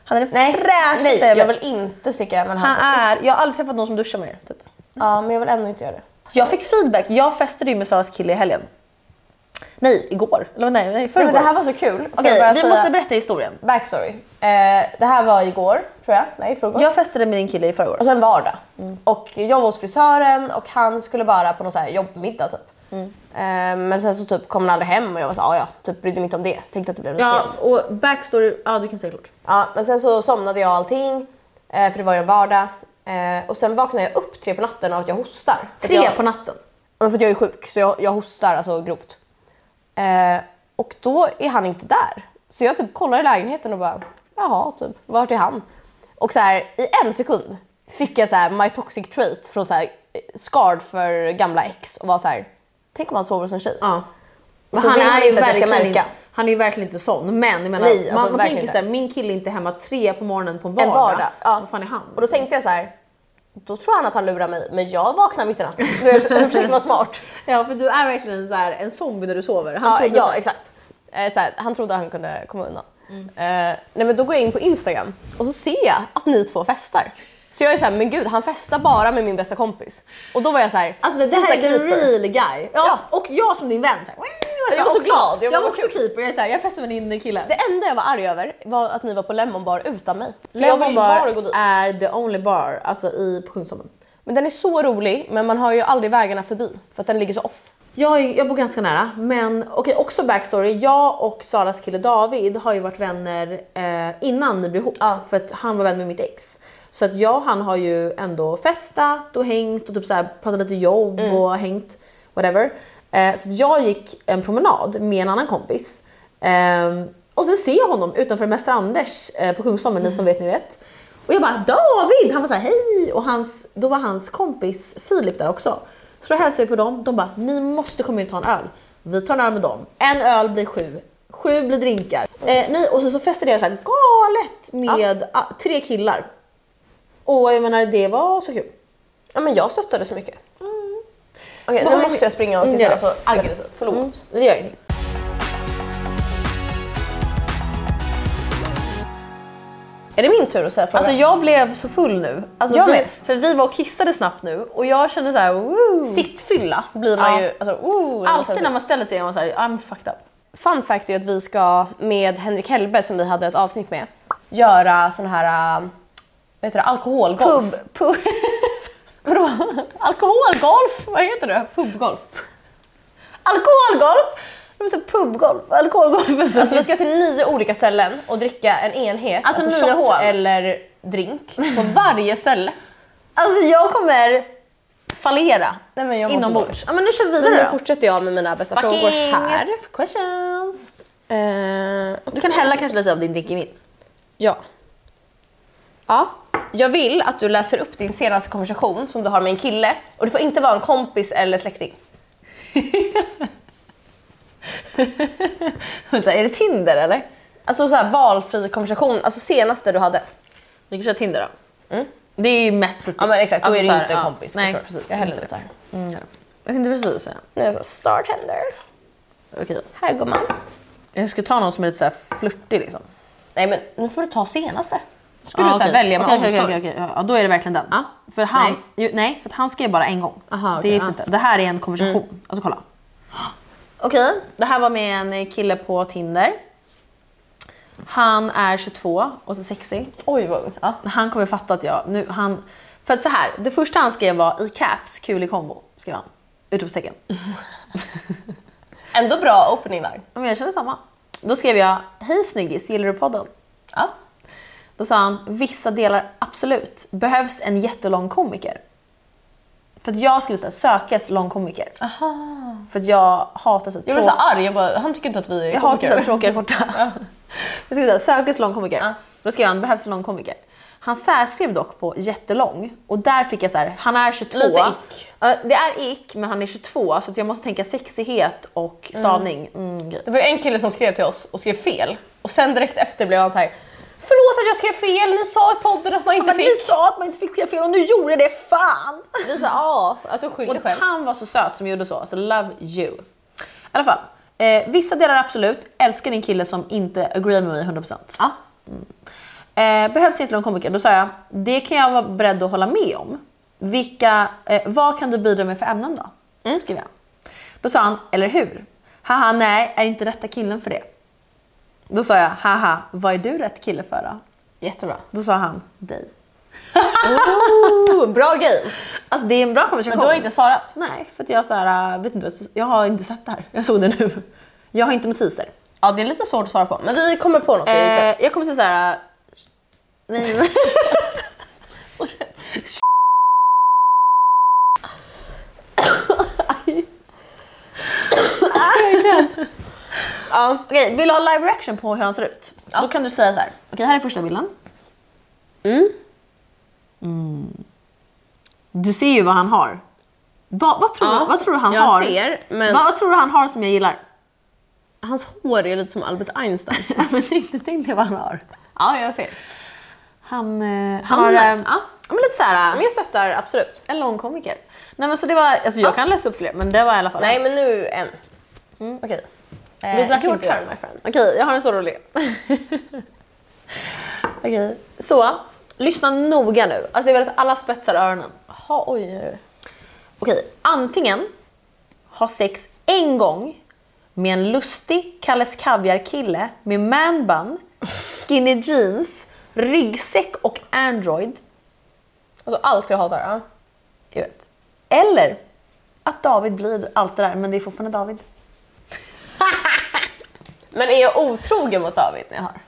Han är den
Nej,
fräschaste
Nej
jag
jag
vet.
vill inte slicka men han,
Han är... Jag har aldrig träffat någon som duschar mer. Typ.
Ja, men jag vill ändå inte göra det.
Jag fick feedback. Jag festade ju med Saras kille i helgen. Nej, igår. Eller nej, nej
Nej,
förrgår.
men det här var så kul. Får
Okej,
jag bara
vi
säga-
måste berätta historien.
Backstory. Eh, det här var igår, tror jag. Nej, i förrgår.
Jag festade med din kille i förrgår.
Alltså en vardag.
Mm.
Och jag var hos frisören och han skulle bara på någon så här jobbmiddag typ.
Mm.
Eh, men sen så typ kom han aldrig hem och jag var så här, "Ah, ja, typ brydde mig inte om det. Tänkte att det blev lite
Ja,
sent.
och backstory... Ja, du kan säga klart.
Ja, men sen så somnade jag och allting, eh, för det var ju en vardag. Eh, och sen vaknade jag upp tre på natten av att jag hostar. För att
Tre
jag,
på natten.
Ja, För att jag är sjuk, så jag, jag hostar alltså grovt. Eh, och då är han inte där. Så jag typ kollar i lägenheten och bara, jaha, typ, vart är han? Och så här, i en sekund fick jag så här, my toxic trait från så här, eh, Scarred för gamla ex och var så här, tänk om han sover hos en tjej.
Ja.
Så vill man inte att jag ska
verkligen
märka.
inte- han är ju verkligen inte sån. Men jag menar,
Nej, alltså,
man, man
verkligen
tänker ju
inte.
såhär, min kille är inte hemma tre på morgonen på en vardag.
En vardag. Ja.
Vad fan är han?
Och då tänkte jag så här, då tror han att han lurar mig, men jag vaknar mitt i natten. Du vet, (laughs) Jag försökte vara smart.
Ja, för du är verkligen så här, en zombie när du sover. Han
Ja,
sover så
ja
här.
exakt. Eh, så här, han trodde han kunde komma undan. Eh, nej, men då går jag in på Instagram och så ser jag att ni två festar. Så jag är så här, men gud han festar bara med min bästa kompis. Och då var jag så här,
Alltså det, det här är
Lisa
the
Keeper.
real guy. Ja,
Ja.
Och jag som din vän. Så här, wow,
Jag var så
också-
glad, jag
Jag,
bara,
var
vad
också
kul.
keeper. Jag, är så här, jag festade med din kille.
Det enda jag var arg över var att ni var på Lemon Bar utan mig. För jag vill
Lemon
ju bara
bar
gå dit.
är the only bar alltså i, på Kungsholmen.
Men den är så rolig, men man har ju aldrig vägarna förbi för att den ligger så off.
Jag, är- jag bor ganska nära, men okej också backstory. Jag och Saras kille David har ju varit vänner eh, innan ni blev ihop.
Ja.
För att han var vän med mitt ex. Så att jag och han har ju ändå festat och hängt och typ så här, pratat lite jobb och hängt. Whatever. Eh, så att jag gick en promenad med en annan kompis. Ehm, och sen ser jag honom utanför Mäster Anders eh, på Kungsholmen, ni som vet ni vet. Och jag bara David! Han var så här hej! Och hans, då var hans kompis Filip där också. Så då hälsade vi på dem. De bara ni måste komma in och ta en öl. Vi tar en öl med dem. En öl blir sju. Sju blir drinkar. Eh, nej, och så, så festade jag så här galet med ah, tre killar. Och jag menar det var så kul.
Ja, men jag stöttade så mycket. Okej,
Vad-
nu måste jag springa och
Mm,
kissa
gör det.
så aggressivt. Förlåt.
Det gör ingenting.
Är det min tur att säga frågan?
Alltså jag blev så full nu. Alltså,
Jag
vi,
med.
För vi var och kissade snabbt nu och jag kände så här. Woo.
Sittfylla blir man
Ja.
ju... Alltså, oh, det måste jag
Alltid
säga.
när man ställer sig är man såhär, I'm fucked up.
Fun fact är att vi ska med Henrik Hellberg som vi hade ett avsnitt med göra sån här äh, vad heter det, alkoholgolf.
Pub, pub. (laughs)
Vadå? (laughs) alkoholgolf? Vad heter det? Pubgolf.
Alkoholgolf! De är så här pubgolf, alkoholgolf. Alltså,
Alltså vi ska till nio olika ställen och dricka en enhet,
Alltså,
alltså,
nio
shot
hål.
eller drink
(laughs)
på varje ställe.
alltså jag kommer fallera
Nej, men jag mår så
inombords.
dåligt.
Ja, men nu kör vi
Men nu
vidare då.
fortsätter jag med mina bästa frågor här.
Fucking questions.
Eh,
Du kan hälla kanske lite av din drink i min.
ja. ja. Jag vill att du läser upp din senaste konversation som du har med en kille och det får inte vara en kompis eller släkting.
(laughs) Vänta, är det Tinder eller?
Alltså så här, valfri konversation, alltså senaste du hade.
Vi kan köra Tinder då. Det är ju mest för
Mm. Ja men exakt, då
Alltså,
är det
så
ju
här,
inte
ja.
kompis. för
Nej,
sure.
precis.
Jag hellre
Inte
det.
Mm, ja. Jag tänkte precis säga.
Nu är jag så här, Startender.
Okej.
Här gumman.
Jag ska ta någon som är lite så här flörtig liksom.
Nej men nu får du ta senaste. Nu ska
Ja,
du så här,
okej.
välja med
Okej,
omsorg.
okej, okej, okej. Ja, då är det verkligen den.
Ja.
För han,
Nej.
nej. Jo, nej, för att han skrev bara en gång.
Aha,
Så
okej,
det, är
ja. Mm.
inte. det här är en konversation. Alltså kolla. Okej, det här var med en kille på Tinder. Han är 22 och så sexig.
Oj vad ung. Ja.
Han kommer fatta att jag... Nu, han, för att så här, det första han skrev var i caps, kul i kombo. Skrev han. Utropstecken.
Ändå bra opening där.
Men jag känner samma. Då skrev jag, hej snyggis, gillar du podden?
Ja.
Då sa han, vissa delar absolut. Behövs en jättelång komiker. För att jag skulle säga sökas lång komiker. För att jag hatar typ så
Ah. Jag blev så arg, jag bara, han tycker inte att vi är
Jag hatar så
komiker.
här
(laughs)
tråkiga korta. (laughs) Jag skulle säga sökes lång komiker.
Ja.
Då skrev han behövs en lång komiker. Han särskrev dock på jättelång och där fick jag så här, han är 22.
Lite ick.
Ja, Det är ick men han är 22 så att jag måste tänka sexighet och stavning. Mm, grej.
Det var ju en kille som skrev till oss och skrev fel och sen direkt efter blev han så här. Förlåt att jag skrev fel, ni sa i podden att man inte
Men ni
fick.
sa att man inte fick skriva fel och nu gjorde jag det, fan!
Vi sa ja, alltså skyll dig
Och
själv.
han var så söt som gjorde så, så love you. I alla fall, eh, vissa delar absolut, älskar din kille som inte agree med mig 100%.
Ja.
Eh, behövs inte någon komiker? Då sa jag, det kan jag vara beredd att hålla med om. Vilka, eh, vad kan du bidra med för ämnen då?
Mm.
Skrev jag. Då sa han, eller hur? Haha, nej, är inte rätta killen för det. Då sa jag, haha, vad är du rätt kille för då?
Jättebra.
Då sa han, dig.
Oh, bra game.
Alltså det är en bra konversation.
Men du har inte svarat.
Nej, för att jag, så här, äh, vet inte, jag har inte sett det här. Jag såg det nu. Jag har inte notiser.
Ja, det är lite svårt att svara på, men vi kommer på något
Eh,
ikväll.
jag kommer säga så här. äh, Nej,
(laughs)
men-
Ja.
Okej, vill du ha live reaction på hur han ser ut? Då kan du säga så här. Okej, här är första bilden. Mm. Du ser ju vad han har. Va, vad, tror,
Ja,
du, vad tror du han
jag
har?
ser, men-
Va, vad tror du han har som jag gillar? (laughs)
Hans hår är lite som Albert Einstein.
Nej, men tänk, tänk dig vad han har.
(laughs) ja, jag ser.
Han, eh,
Han
har...
är
eh,
nice, ja.
men lite så här, äh,
Men jag stöttar absolut.
En lång komiker. Nej men så det var, alltså jag kan läsa upp fler men det var i alla fall.
Nej, men nu en. Okej. Eh,
Du Mm. drack
your
inte
turn,
det.
my friend.
Okej, jag har en så rolig. (laughs) Okej, så. Lyssna noga nu. Alltså jag vill att alla spetsar öronen.
Jaha, oj. oj, oj.
Okej, antingen ha sex en gång med en lustig Kalles Kaviar-kille med manbun, skinny jeans, ryggsäck och android.
Alltså allt jag hatar. Ja.
Jag vet. Eller att David blir allt det där men det är fortfarande David.
Men är jag otrogen mot David när jag har?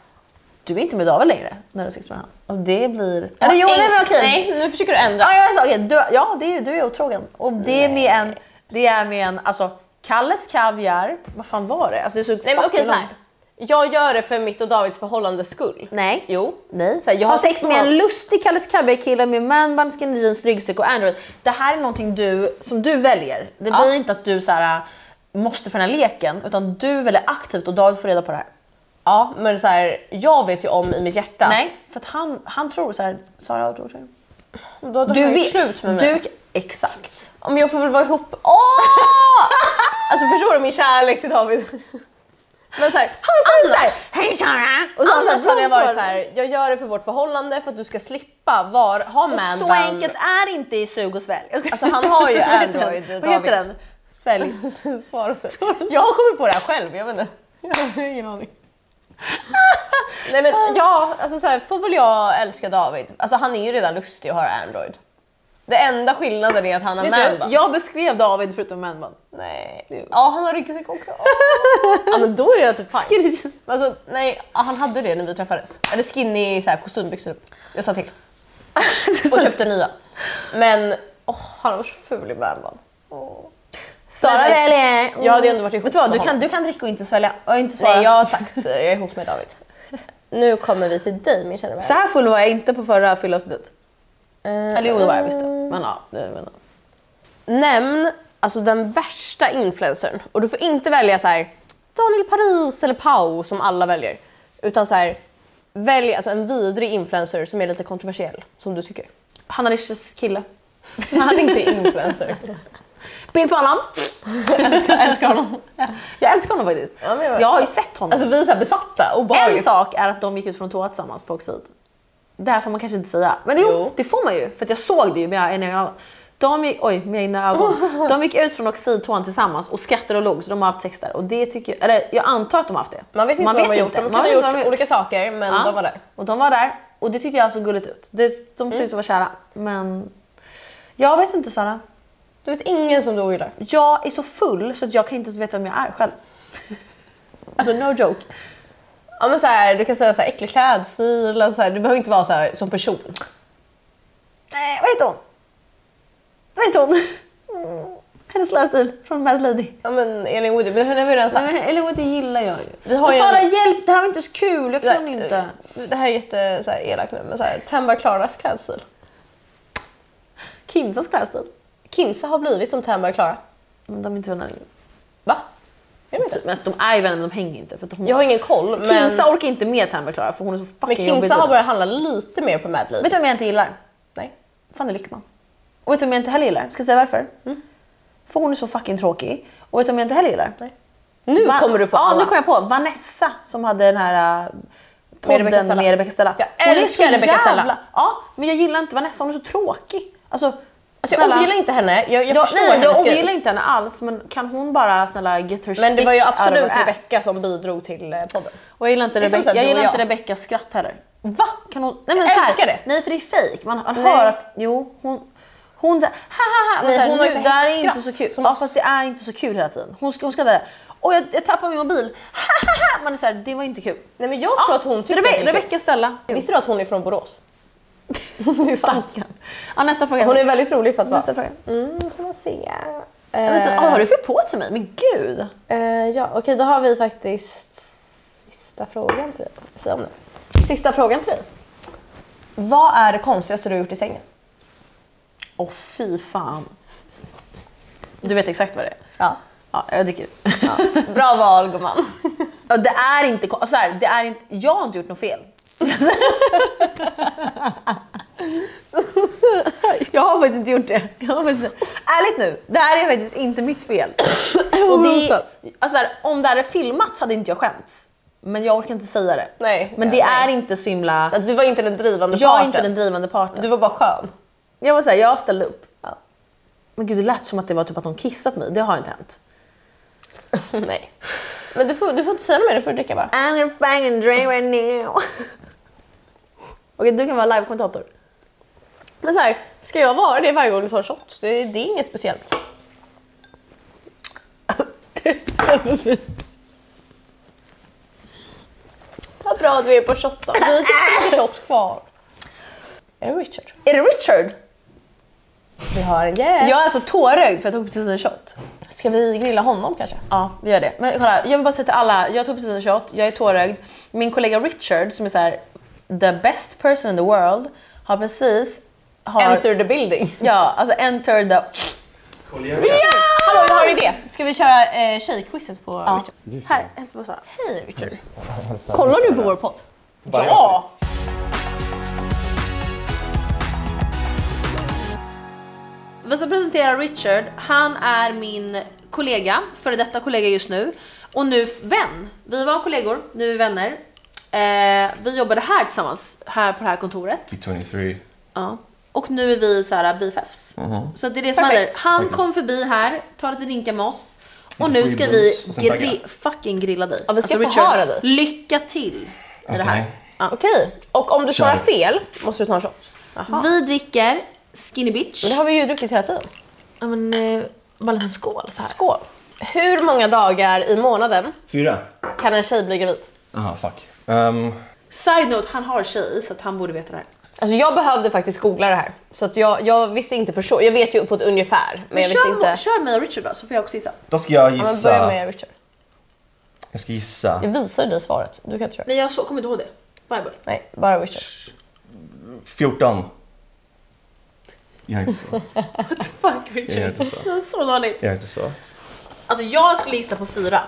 Du är inte med David längre när du har sex med honom. Alltså det blir...
Jag har
Eller jo,
ing-
nej men okej.
Nej, nu försöker du ändra.
Ja, jag sa, okej, du, ja det är, du är otrogen. Och det är med en, det är med en alltså, Kalles kaviar, vad fan var det? Alltså, det såg
Nej men
fucking
okej såhär.
långt-
Jag gör det för mitt och Davids förhållandes skull.
Nej.
Jo.
Nej.
Så här, jag
ha
har
sex med
honom.
en lustig Kalles kaviar-kille med manband, skinny jeans, ryggsäck och android. Det här är någonting du, som du väljer. Det
Ja.
blir inte att du så här, äh, måste för den här leken, utan du väljer aktivt och David får reda på det här.
Ja men såhär, jag vet ju om i mitt hjärta.
Nej, för att han, han tror så här, Sara tror så här.
Då, då du har ju slut med mig.
Du, exakt.
Om jag får väl vara ihop. Åh! (laughs) alltså förstår du min kärlek till David? Men såhär,
Han sa
annars,
såhär, hej Sara! Och så har han
annars
så här
hade jag
blont
varit
hår.
såhär, jag gör det för vårt förhållande för att du ska slippa var, ha man
Så
bun.
enkelt är det inte i sug och svälj.
(laughs) Alltså, han har ju
Vad heter den?
Android,
Vad heter
David.
den? Svälj. (laughs)
Svara så. (laughs) Jag har kommit på det här själv, jag vet inte. (laughs) Jag har ingen aning. Nej men ja, alltså så här, får väl jag älska David. Alltså han är ju redan lustig och har Android. Det enda skillnaden är att han har
Vet du,
manband.
jag beskrev David förutom manband.
Nej. Ja, han har ryggsäck
(laughs)
också. Åh. ja men då är jag typ fine.
Skinny jeans.
Alltså nej, ja, han hade det när vi träffades. Eller skinny så här, kostymbyxor. Jag sa till. (laughs) Och köpte nya. Men åh, han var så ful i manband.
(laughs) Sara
Men så-
väljer. Mm.
Jag hade ju ändå varit ihop
Vet du vad,
med
du kan, du kan dricka och inte svälja. Och inte svara.
Nej, jag har sagt eh, jag är ihop med David. Nu kommer vi till dig min kära vän.
Så här full var jag inte på förra fyllavsnittet.
Eh,
Eller jo, det var jag visst. Men ja, det menar
Nämn alltså, den värsta influencern. Och du får inte välja så här, Daniel Paris eller Pau som alla väljer. Utan så här, välj alltså, en vidrig influencer som är lite kontroversiell, som du tycker.
Hanna Riches kille.
Han är inte influencer.
Bild på honom.
Jag älskar, jag älskar honom.
(laughs) Jag älskar honom faktiskt.
Ja, men jag-
jag har ju sett honom.
Alltså vi är så här besatta,
En
obehagligt.
sak är att de gick ut från toa tillsammans på Oxid. Det här får man kanske inte säga. Men jo,
Jo.
det får man ju. För att jag såg det ju. Men jag, är en annan. De gick, oj, med
(laughs)
egna ögon. De gick ut från oxidtvåan tillsammans och skrattade och log så de har haft sex där. Och det tycker jag, eller jag antar att de har haft det.
Man vet inte vad de har gjort. De kan
Man
ha
vet
gjort
inte vad de har
olika saker men
Ja.
de var där. Mm.
Och de var där och det tycker jag såg gulligt ut. Det, de såg ut att vara kära. Men jag vet inte Sara.
Du vet ingen som du ogillar.
Jag är så full så att jag kan inte ens veta vem jag är själv. (laughs) Alltså no joke.
Ja, men så här, du kan säga så här, äcklig klädstil, alltså så här, du behöver inte vara så här, som person.
Nej, vad heter hon? Vad heter hon? Mm. Hennes lilla stil från Mad Lady.
Ja, men Elin Woody, men henne har vi redan sagt.
Nej, Eller vad det gillar jag ju.
Vi har
Men
ju
Sara
en- eh.
hjälp, det här var inte så kul. Jag kan inte.
Det här är jätte så här, elakt nu, men så här, Temba Klaras klädstil.
Kinsas klädstil.
Kinsa har blivit som Temba och Klara.
Men de är inte vänner längre.
Va? Är de inte?
Men att de är ju vänner men de hänger ju inte. För att hon...
Jag har ingen koll, men,
Kinsa orkar inte med Tammy Klara för hon är så fucking
men
jobbig.
Kinsa har börjat handla lite mer på Mad
Vet
Lady.
du vem jag inte gillar?
Nej.
Fanny Lyckman. Och vet du vem jag inte heller gillar? Ska jag säga varför?
Mm.
För hon är så fucking tråkig. Och vet du vem jag inte heller gillar?
Nej. Nu
Va-
kommer du på
Ja,
alla.
nu kommer jag på. Vanessa som hade den här äh,
Rebecca
podden
Stella.
med Rebecca Stella.
Jag
Hon är
älskar
så
Rebecca Stella.
jävla- Ja, men jag gillar inte Vanessa. Hon är så tråkig. Alltså,
Alltså, jag
snälla.
ogillar inte henne, jag, jag
Ja,
förstår
nej, nej,
hennes
jag
grej.
ogillar inte henne alls men kan hon bara snälla get her
Men det var ju
stick out of
absolut
her ass.
Rebecca som bidrog till eh, podden.
Och jag gillar inte,
Det är som så
Rebe-
här,
jag
du
gillar
och
inte
jag.
Rebeckas skratt heller.
Va?
Kan hon, nej men
Jag
så här,
älskar det.
Nej för det är fejk. Man man
Nej.
hör att jo, hon... Hon där, ha ha ha. Men
Nej,
så här,
hon har ju
nu,
så här
där är inte
häxskratt
så kul.
som
ja
oss.
fast det är inte så kul hela tiden. Hon ska, hon ska där. Och jag, jag tappar min mobil. Ha ha ha. Man är så här, det var inte kul.
Nej men jag tror att hon tyckte
Rebe-
att (laughs) det var kul.
Rebecka Stella.
Visste du att hon är från Borås?
(laughs) det är sant. Ja, nästa fråga.
Hon är väldigt rolig för att vara.
nästa fråga.
Mm, får man se.
Jag vet inte,
Eh,
vad har du för på till mig? Men gud.
eh, ja, okej då har vi faktiskt sista frågan till dig. Säg om det. Sista frågan till dig. Vad är det konstigaste du har gjort i sängen?
Åh fy fan. Du vet exakt vad det är.
Ja.
Ja, jag dricker. (laughs)
Bra val gumman.
Ja, det är inte kon- så här, det är inte, jag har inte gjort något fel. (laughs) jag har faktiskt inte gjort det. Jag har faktiskt, ärligt nu, det här är faktiskt inte mitt
(coughs)
fel. Och det,
roastat.
alltså här, om det hade filmats hade inte jag skämts. Men jag orkar inte säga det.
Nej,
Men det
ja,
är
nej.
inte så himla...
Att Du var inte den drivande
Jag är
parten.
inte den drivande parten.
Du var bara
(laughs)
skön.
Jag var såhär, jag ställde upp.
Ja.
Men gud det lät som att det var typ att de kissat mig, det har inte hänt.
Nej. Men du får, du får inte säga något mer, du får dricka bara.
I'm gonna fucking drink right now. (laughs) Okej, du kan vara (laughs) live-kommentator.
Men så här, ska jag vara det varje gång du får en shot? Det, det är inget speciellt. Vad bra att vi är på shot då. Vi har typ tre shots kvar. Är det Richard?
Är det Richard?
Vi har en gäst.
Jag är alltså tårögd för jag tog precis en shot.
Ska vi grilla honom kanske?
Ja, vi gör det. Men kolla, jag vill bara säga till alla, jag tog precis en shot, jag är tårögd. Min kollega Richard som är så här, the best person in the world, har precis... Har,
Enter the building.
Ja, alltså enter the...
Hallå, jag har en idé. Ska vi köra eh, tjejquizet på
Ja.
Richard?
Här, hälsa på Sara.
Hej Richard. Kollar du på vår podd?
Ja! Vi ska presentera Richard. Han är min kollega, före detta kollega just nu. Och nu vän. Vi var kollegor, nu är vi vänner. Eh, vi jobbade här tillsammans, här på det här kontoret.
23.
Ja. Och nu är vi så här BFFs.
Mm-hmm.
Så det är det som händer.
Perfekt.
Han kom förbi här, tar lite drinkar med oss. Och
Lite
nu ska vi
freebies och sen
gri-
tagga.
fucking grilla dig. Alltså,
Ja, vi ska förhöra dig.
lycka till i det här.
Okej.
Ja.
Okej, och om du
Kör.
svarar fel måste du ta en shot.
Vi dricker Skinny Bitch.
Men det har vi ju druckit hela tiden.
Ja, men, eh, bara en liten skål så här.
Skål. Hur många dagar i månaden
Fyra?
kan en tjej bli gravid?
Aha, fuck. Ehm,
Side note, han har tjej i, så att han borde veta det här.
Alltså jag behövde faktiskt googla det här. Så att jag, jag visste inte för så. Jag vet ju på ett ungefär. Men, jag visste
kör,
inte.
kör mig och Richard då så får jag också gissa.
då ska jag
Ja, men börja
gissa.
med Richard.
Jag ska gissa.
Jag visar ju dig svaret. Du kan inte köra.
Nej jag så, kommer inte ihåg det. Bye bye.
Nej, bara Richard.
14. Jag är inte så.
Fuck
Jag gör
Richard.
inte så.
(laughs) Det var så dåligt.
Jag är inte så.
Alltså jag skulle gissa på fyra.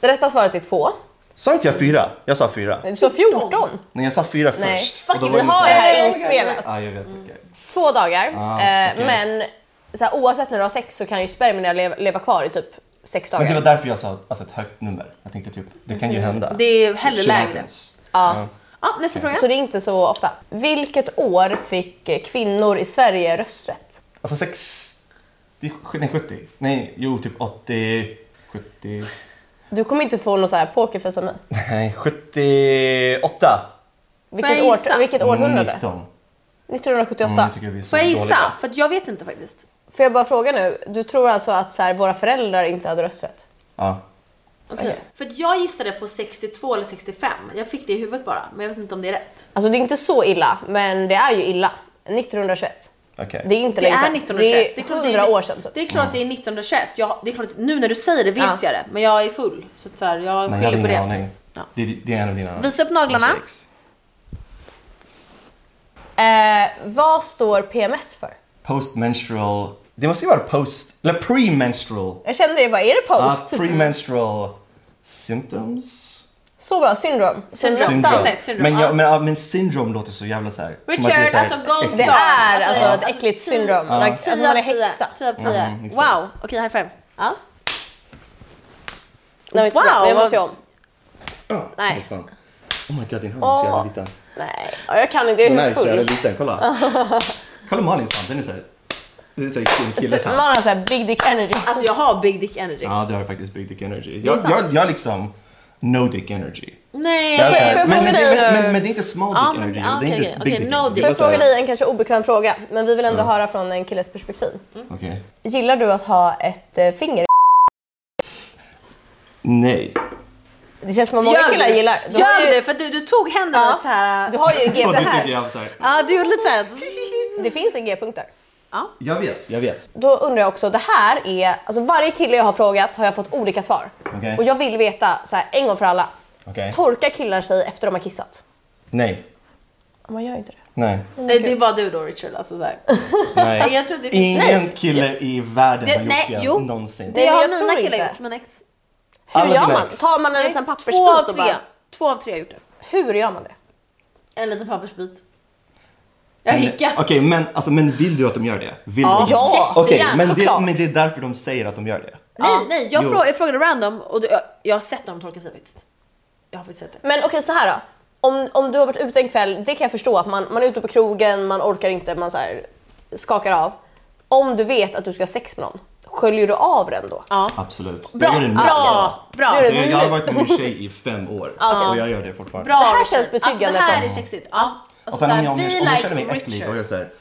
Det rätta svaret är två.
Sa inte jag fyra? Jag sa fyra.
Du sa 14.
Nej, jag sa fyra
Nej.
först.
Fuck,
Och då
vi
var det
har
så
Det
här-
här är inspelat.
Ja, jag vet. okej.
Två dagar.
Ah,
eh,
okej.
Men så här, oavsett när du har sex så kan ju spermierna leva, leva kvar i typ sex
Men det var
dagar.
därför jag sa alltså, ett högt nummer. Jag tänkte typ, det kan ju hända.
Det är hellre lägre.
Tjugotals.
Ja.
Ja, nästa fråga.
Så det är inte så ofta. Vilket år fick eh, kvinnor i Sverige rösträtt?
Alltså 60... Nej, 70. Nej, jo, typ 80... 70...
Du kommer inte få någon så här pokerface av mig.
Nej, 78.
Vilket,
jag gissa?
år, vilket århundrade?
19.
1978.
Mm, jag tycker vi är så
Får jag gissa?
dåliga.
För att jag vet inte faktiskt.
Får jag bara fråga nu, du tror alltså att så här, våra föräldrar inte hade rösträtt?
Ja.
Okej.
För att jag gissade på 62 eller 65. Jag fick det i huvudet bara, men jag vet inte om det är rätt.
Alltså det är inte så illa, men det är ju illa. 1921.
Okej.
Det är inte
Det
länge
är
sedan.
1921.
Det är
klart
100 år sedan typ.
Det är klart att det är 1921. Jag, det är klart att, nu när du säger det vet
Ja.
jag det, men jag är full. Så, att så här, jag
Nej, jag hade
skyller på
ingen
det.
aning.
Ja.
Det, det är en av dina...
Visa upp naglarna.
mistakes.
Eh, vad står PMS för?
Postmenstrual... Det måste ju vara post... Eller premenstrual.
Jag kände ju bara, är det
Ah,
post?
premenstrual symptoms?
Så bra, syndrom. Så
Syndrom.
nästan-
Syndrom.
Exakt, syndrom,
Men,
ja.
jag, men, ja, men syndrom låter så jävla så här. som att det är
Richard,
så här-
alltså gold
Det
star.
är alltså
ja.
ett äckligt syndrom.
Ja.
Like, alltså man är häxa.
10 av 10.
Mm, exakt.
wow, okej high five.
Ja. Nej, men
Wow,
wow, jag
vad-
måste ju om.
Ja,
Nej.
Ah, vad fan. Oh my god, din hand är så jävla
Åh.
liten.
Nej, ja, jag kan inte. Jag
Den här
är
är så jävla
full.
liten, kolla.
(laughs)
kolla Malins hand, den är så här. Det är så här en killes
Man
hand.
har såhär big dick energy.
Alltså jag har big dick energy.
Ja, du har faktiskt big dick energy.
är
Jag,
sant.
jag, jag liksom no dick energy.
Nej,
Jag är så
får-
här,
får jag
men, men,
fråga
det-
dig-
men, men, men det är inte small dick
Ja, men-
energy.
ja,
det är
okej,
inte
okej,
big dick
no
Får
dick.
energy. Det är
jag
så här-
fråga dig en kanske obekväm fråga, men vi vill ändå höra från en killes perspektiv.
Okej.
Gillar du att ha ett eh, finger i
Nej.
Det känns som att många killar gillar. Du har
Gör
ju,
det, för du, du tog händerna
Ja.
lite så här.
du har ju en
Vad
G
du tycker
här.
jag så här.
Ja, du gjorde lite så här.
Det finns en G-punkt där.
Jag vet, jag vet.
Då undrar jag också, det här är, alltså varje kille jag har frågat har jag fått olika svar.
Okej.
Och jag vill veta så här, en gång för alla.
Okej.
Torkar killar sig efter de har kissat?
Nej.
Man gör inte det.
Nej.
Nej, det är bara du då Richard. Alltså, så här. (laughs)
Nej.
Jag tror det-
Ingen kille i världen
Det-
har
nej,
gjort det
jo.
någonsin.
Det
jag
har
tror
mina killar
inte.
gjort, mina ex.
Hur
Alla
gör
dina
man?
ex.
Tar man en liten
Två av
pappersbit och
tre.
bara...
Två av tre har gjort det.
Hur gör man det?
En liten pappersbit. Jag
Men-
hickar.
Okej, men, alltså, men vill du att de gör det? Vill
Ja,
du?
Ja,
Okej,
jättegärna,
men, det,
såklart.
men det är därför de säger att de gör det.
Nej, nej, jag,
Jo.
frå, jag frågade random och du, jag, jag har sett dem torka sig faktiskt. Jag har faktiskt sett det.
Men okej, så här då. Om, om du har varit ute en kväll, det kan jag förstå att man, man är ute på krogen, man orkar inte, man så här, skakar av. Om du vet att du ska ha sex med någon, sköljer du av den då?
Ja.
Absolut.
Bra,
jag gör det nu.
bra,
Det
bra.
Alltså,
gör det
jag, jag har
nu.
varit med min tjej i fem
(laughs)
år och jag gör det fortfarande.
Bra,
Det här
Richard.
känns betryggande
Alltså, det här
för
är
oss.
sexigt. Ja.
Och sen om jag, om
be
jag, om jag
like
känner mig äcklig,
Richard.
då är jag såhär,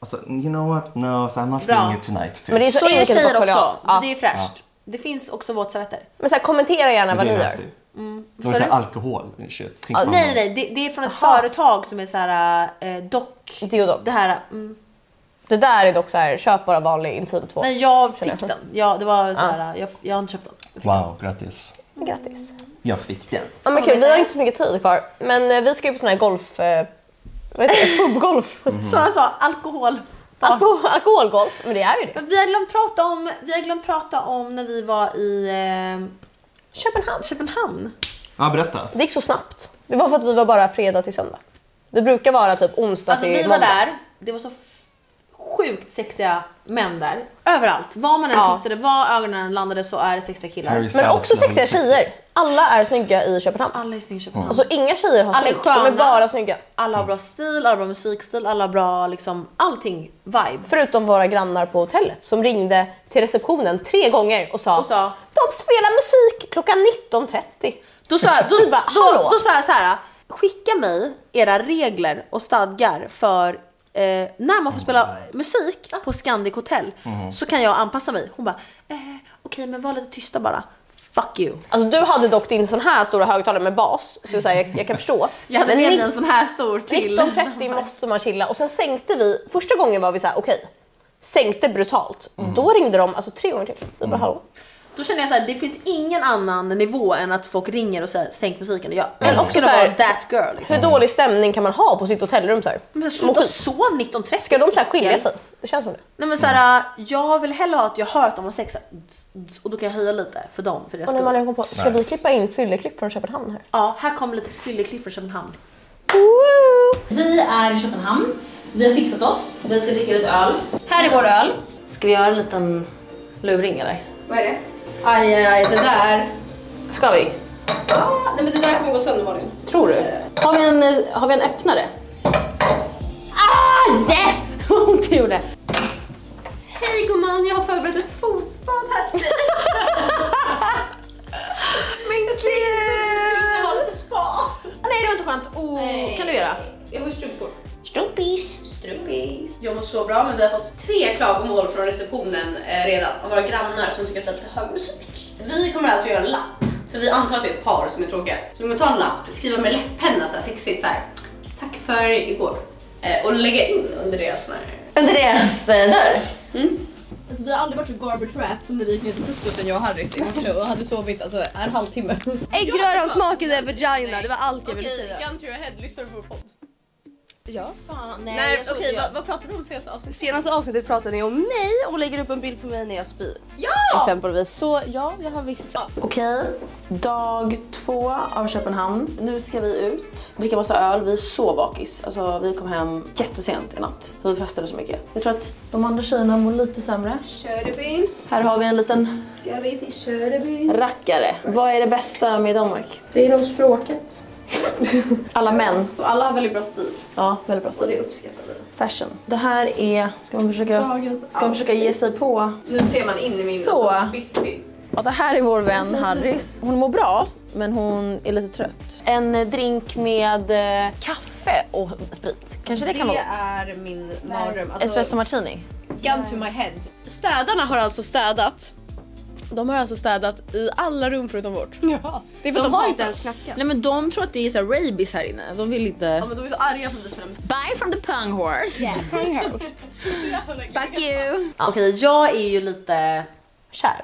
alltså, you know what, no, so I'm not
Bra.
feeling it tonight. Typ.
Men det är så,
Så gör
enkelt att
tjejer också.
skölja av. Ja.
Det är fräscht. Det finns också våtservetter.
Men så här, kommentera gärna vad
Det
ni
är
gör.
nasty. Då är det
Mm. Sa
såhär
du?
alkohol, shit. Tänk på
Nej, nej,
det.
nej. Det, det är från ett
Aha.
företag som är så här eh, dock.
Deodorant.
Det här, mm.
Det där är dock så här, köp bara vanlig intimtvål.
Nej, jag fick
Känner jag. Ah.
den. Ja, det var så här, jag, jag har inte köpt den.
Wow, grattis.
Grattis.
Jag fick den.
Ja, men
Så
kul,
det
vi har
här-
inte så mycket tid kvar, men eh, vi ska ju på sån här golf... Eh, vad heter det? (laughs) Pubgolf?
Mhm.
Sara sa alkohol.
Alko- alkoholgolf, men det är ju det.
Men Vi har glömt prata om, vi har glömt prata om när vi var i eh,
Köpenhamn.
Köpenhamn.
Ja, berätta.
Det gick så snabbt. Det var för att vi var bara fredag till söndag. Vi brukar vara typ onsdag
Alltså
till
vi var
måndag.
där, det var så f- sjukt sexiga män där. Överallt. Var man än
Ja.
tittade, var ögonen än landade så är det sexiga killar.
Harry
Men
Styles
också
när hon
sexiga
var sexig.
tjejer. Alla är snygga i Köpenhamn.
Alla är snygga i Köpenhamn.
Alltså inga tjejer har
Alla är
smink, de är
sköna.
bara snygga.
Alla har bra stil, alla har bra musikstil, alla har bra liksom allting vibe.
Förutom våra grannar på hotellet som ringde till receptionen tre gånger och sa,
Och sa-
de spelar musik klockan 19.30.
Då sa jag, då,
Vi bara, hallå?
då, då sa jag så här, skicka mig era regler och stadgar för eh, när man får spela musik på Scandic Hotel så kan jag anpassa mig. Hon bara, eh, okej men var lite tysta bara. Fuck you.
Alltså du hade dock din sån här stora högtalare med bas, så, så här, jag, jag kan förstå.
Jag hade
Men
med mig
nitt-
en sån här stor till.
(laughs) 19.30 måste man chilla och sen sänkte vi, första gången var vi så här: okej, sänkte brutalt. Då ringde de alltså tre gånger till. Vi bara hallå.
Då känner jag så här, det finns ingen annan nivå än att folk ringer och säger sänk musiken. Jag
Men också
älskar
så
att
här-
vara that girl. Liksom.
Hur dålig stämning kan man ha på sitt hotellrum såhär?
Men så här, sluta sov 19.30.
Ska de så här skilja sig? Det känns som det.
Nej men såhär, jag vill hellre ha att jag hör att de har sex och då kan jag höja lite för dem. För deras
Och när
skull.
man kom på, ska vi
Nice.
klippa in fylleklipp från Köpenhamn här?
Ja, här kommer lite fylleklipp från Köpenhamn.
Woo!
Vi är i Köpenhamn. Vi har fixat oss. Vi ska dricka lite öl. Här är vår öl. Ska vi göra en liten luring eller?
Vad är det? Aj, aj, aj, det där.
Ska vi?
Ah, nej men det där kommer gå sönder Malin.
Tror du? Har vi en, eh, har vi (laughs) en öppnare? Ah! Yeah! Ont det gjorde.
Hej gumman, jag har förberett ett fotbad
(laughs)
här till dig.
Men
Jag har
gud!
lite spa.
Nej, det var inte skönt. Oh, kan du göra?
Jag har strumpor.
Strumpis.
Strumpis. Jag mår så bra men vi har fått tre klagomål från receptionen eh, redan av våra grannar som tycker att det är lite hög musik. Vi kommer alltså göra en lapp, för vi antar att det är ett par som är tråkiga. Så vi kommer ta en lapp, skriva med läpppenna så här sexigt så här. Tack för igår. Eh, och lägga in under deras sån här
Under deras eh, dörr.
Alltså, vi har aldrig varit så garbage rat som när vi gick ner till frukosten jag och Harris i morse och hade sovit alltså, en halvtimme.
Äggröran smakade vagina, det var allt jag ville säga.
gun to your head, lyssnar du på vår podd?
Ja.
Fan, nej,
Nej,
jag
okej,
trodde jag-
vad, vad pratade du om senaste avsnittet?
Senaste avsnittet pratade ni om mig och lägger upp en bild på mig när jag spyr.
Ja!
Exempelvis. Så ja, jag har visst.
Okej, dag två av Köpenhamn. Nu ska vi ut, dricka massa öl. Vi är så bakis. Alltså, vi kom hem jättesent i natt. för Vi festade så mycket. Jag tror att de andra tjejerna mår lite sämre.
Körebyn.
Här har vi en liten
Ska vi till Körebyn?
rackare. Vad är det bästa med Danmark?
Det är de språket.
Alla män.
Och alla har väldigt bra stil.
Ja, väldigt bra stil.
uppskattar vi.
Fashion. Det här är... Ska man försöka,
Dagens
ska man försöka ge sig på...
Nu ser man in i min
Så.
alltså, fiffi.
Ja, det här är vår vän Harris. Hon mår bra, men hon är lite trött. En eh, drink med eh, kaffe och sprit. Kanske det kan vara
Det är
gott?
min mardröm.
Espresso
Alltså,
martini.
gun to my head.
Städarna har alltså städat. De har alltså städat i alla rum förutom vårt. Ja. Det är för att de, har inte ens knackat.
Nej men de tror att det är så här rabies här inne. De vill
Ja,
inte...
men de är så arga för att vi spelar musik.
Bye from the pung horse. (laughs) Fuck you. Okej, jag är ju lite...
Kär.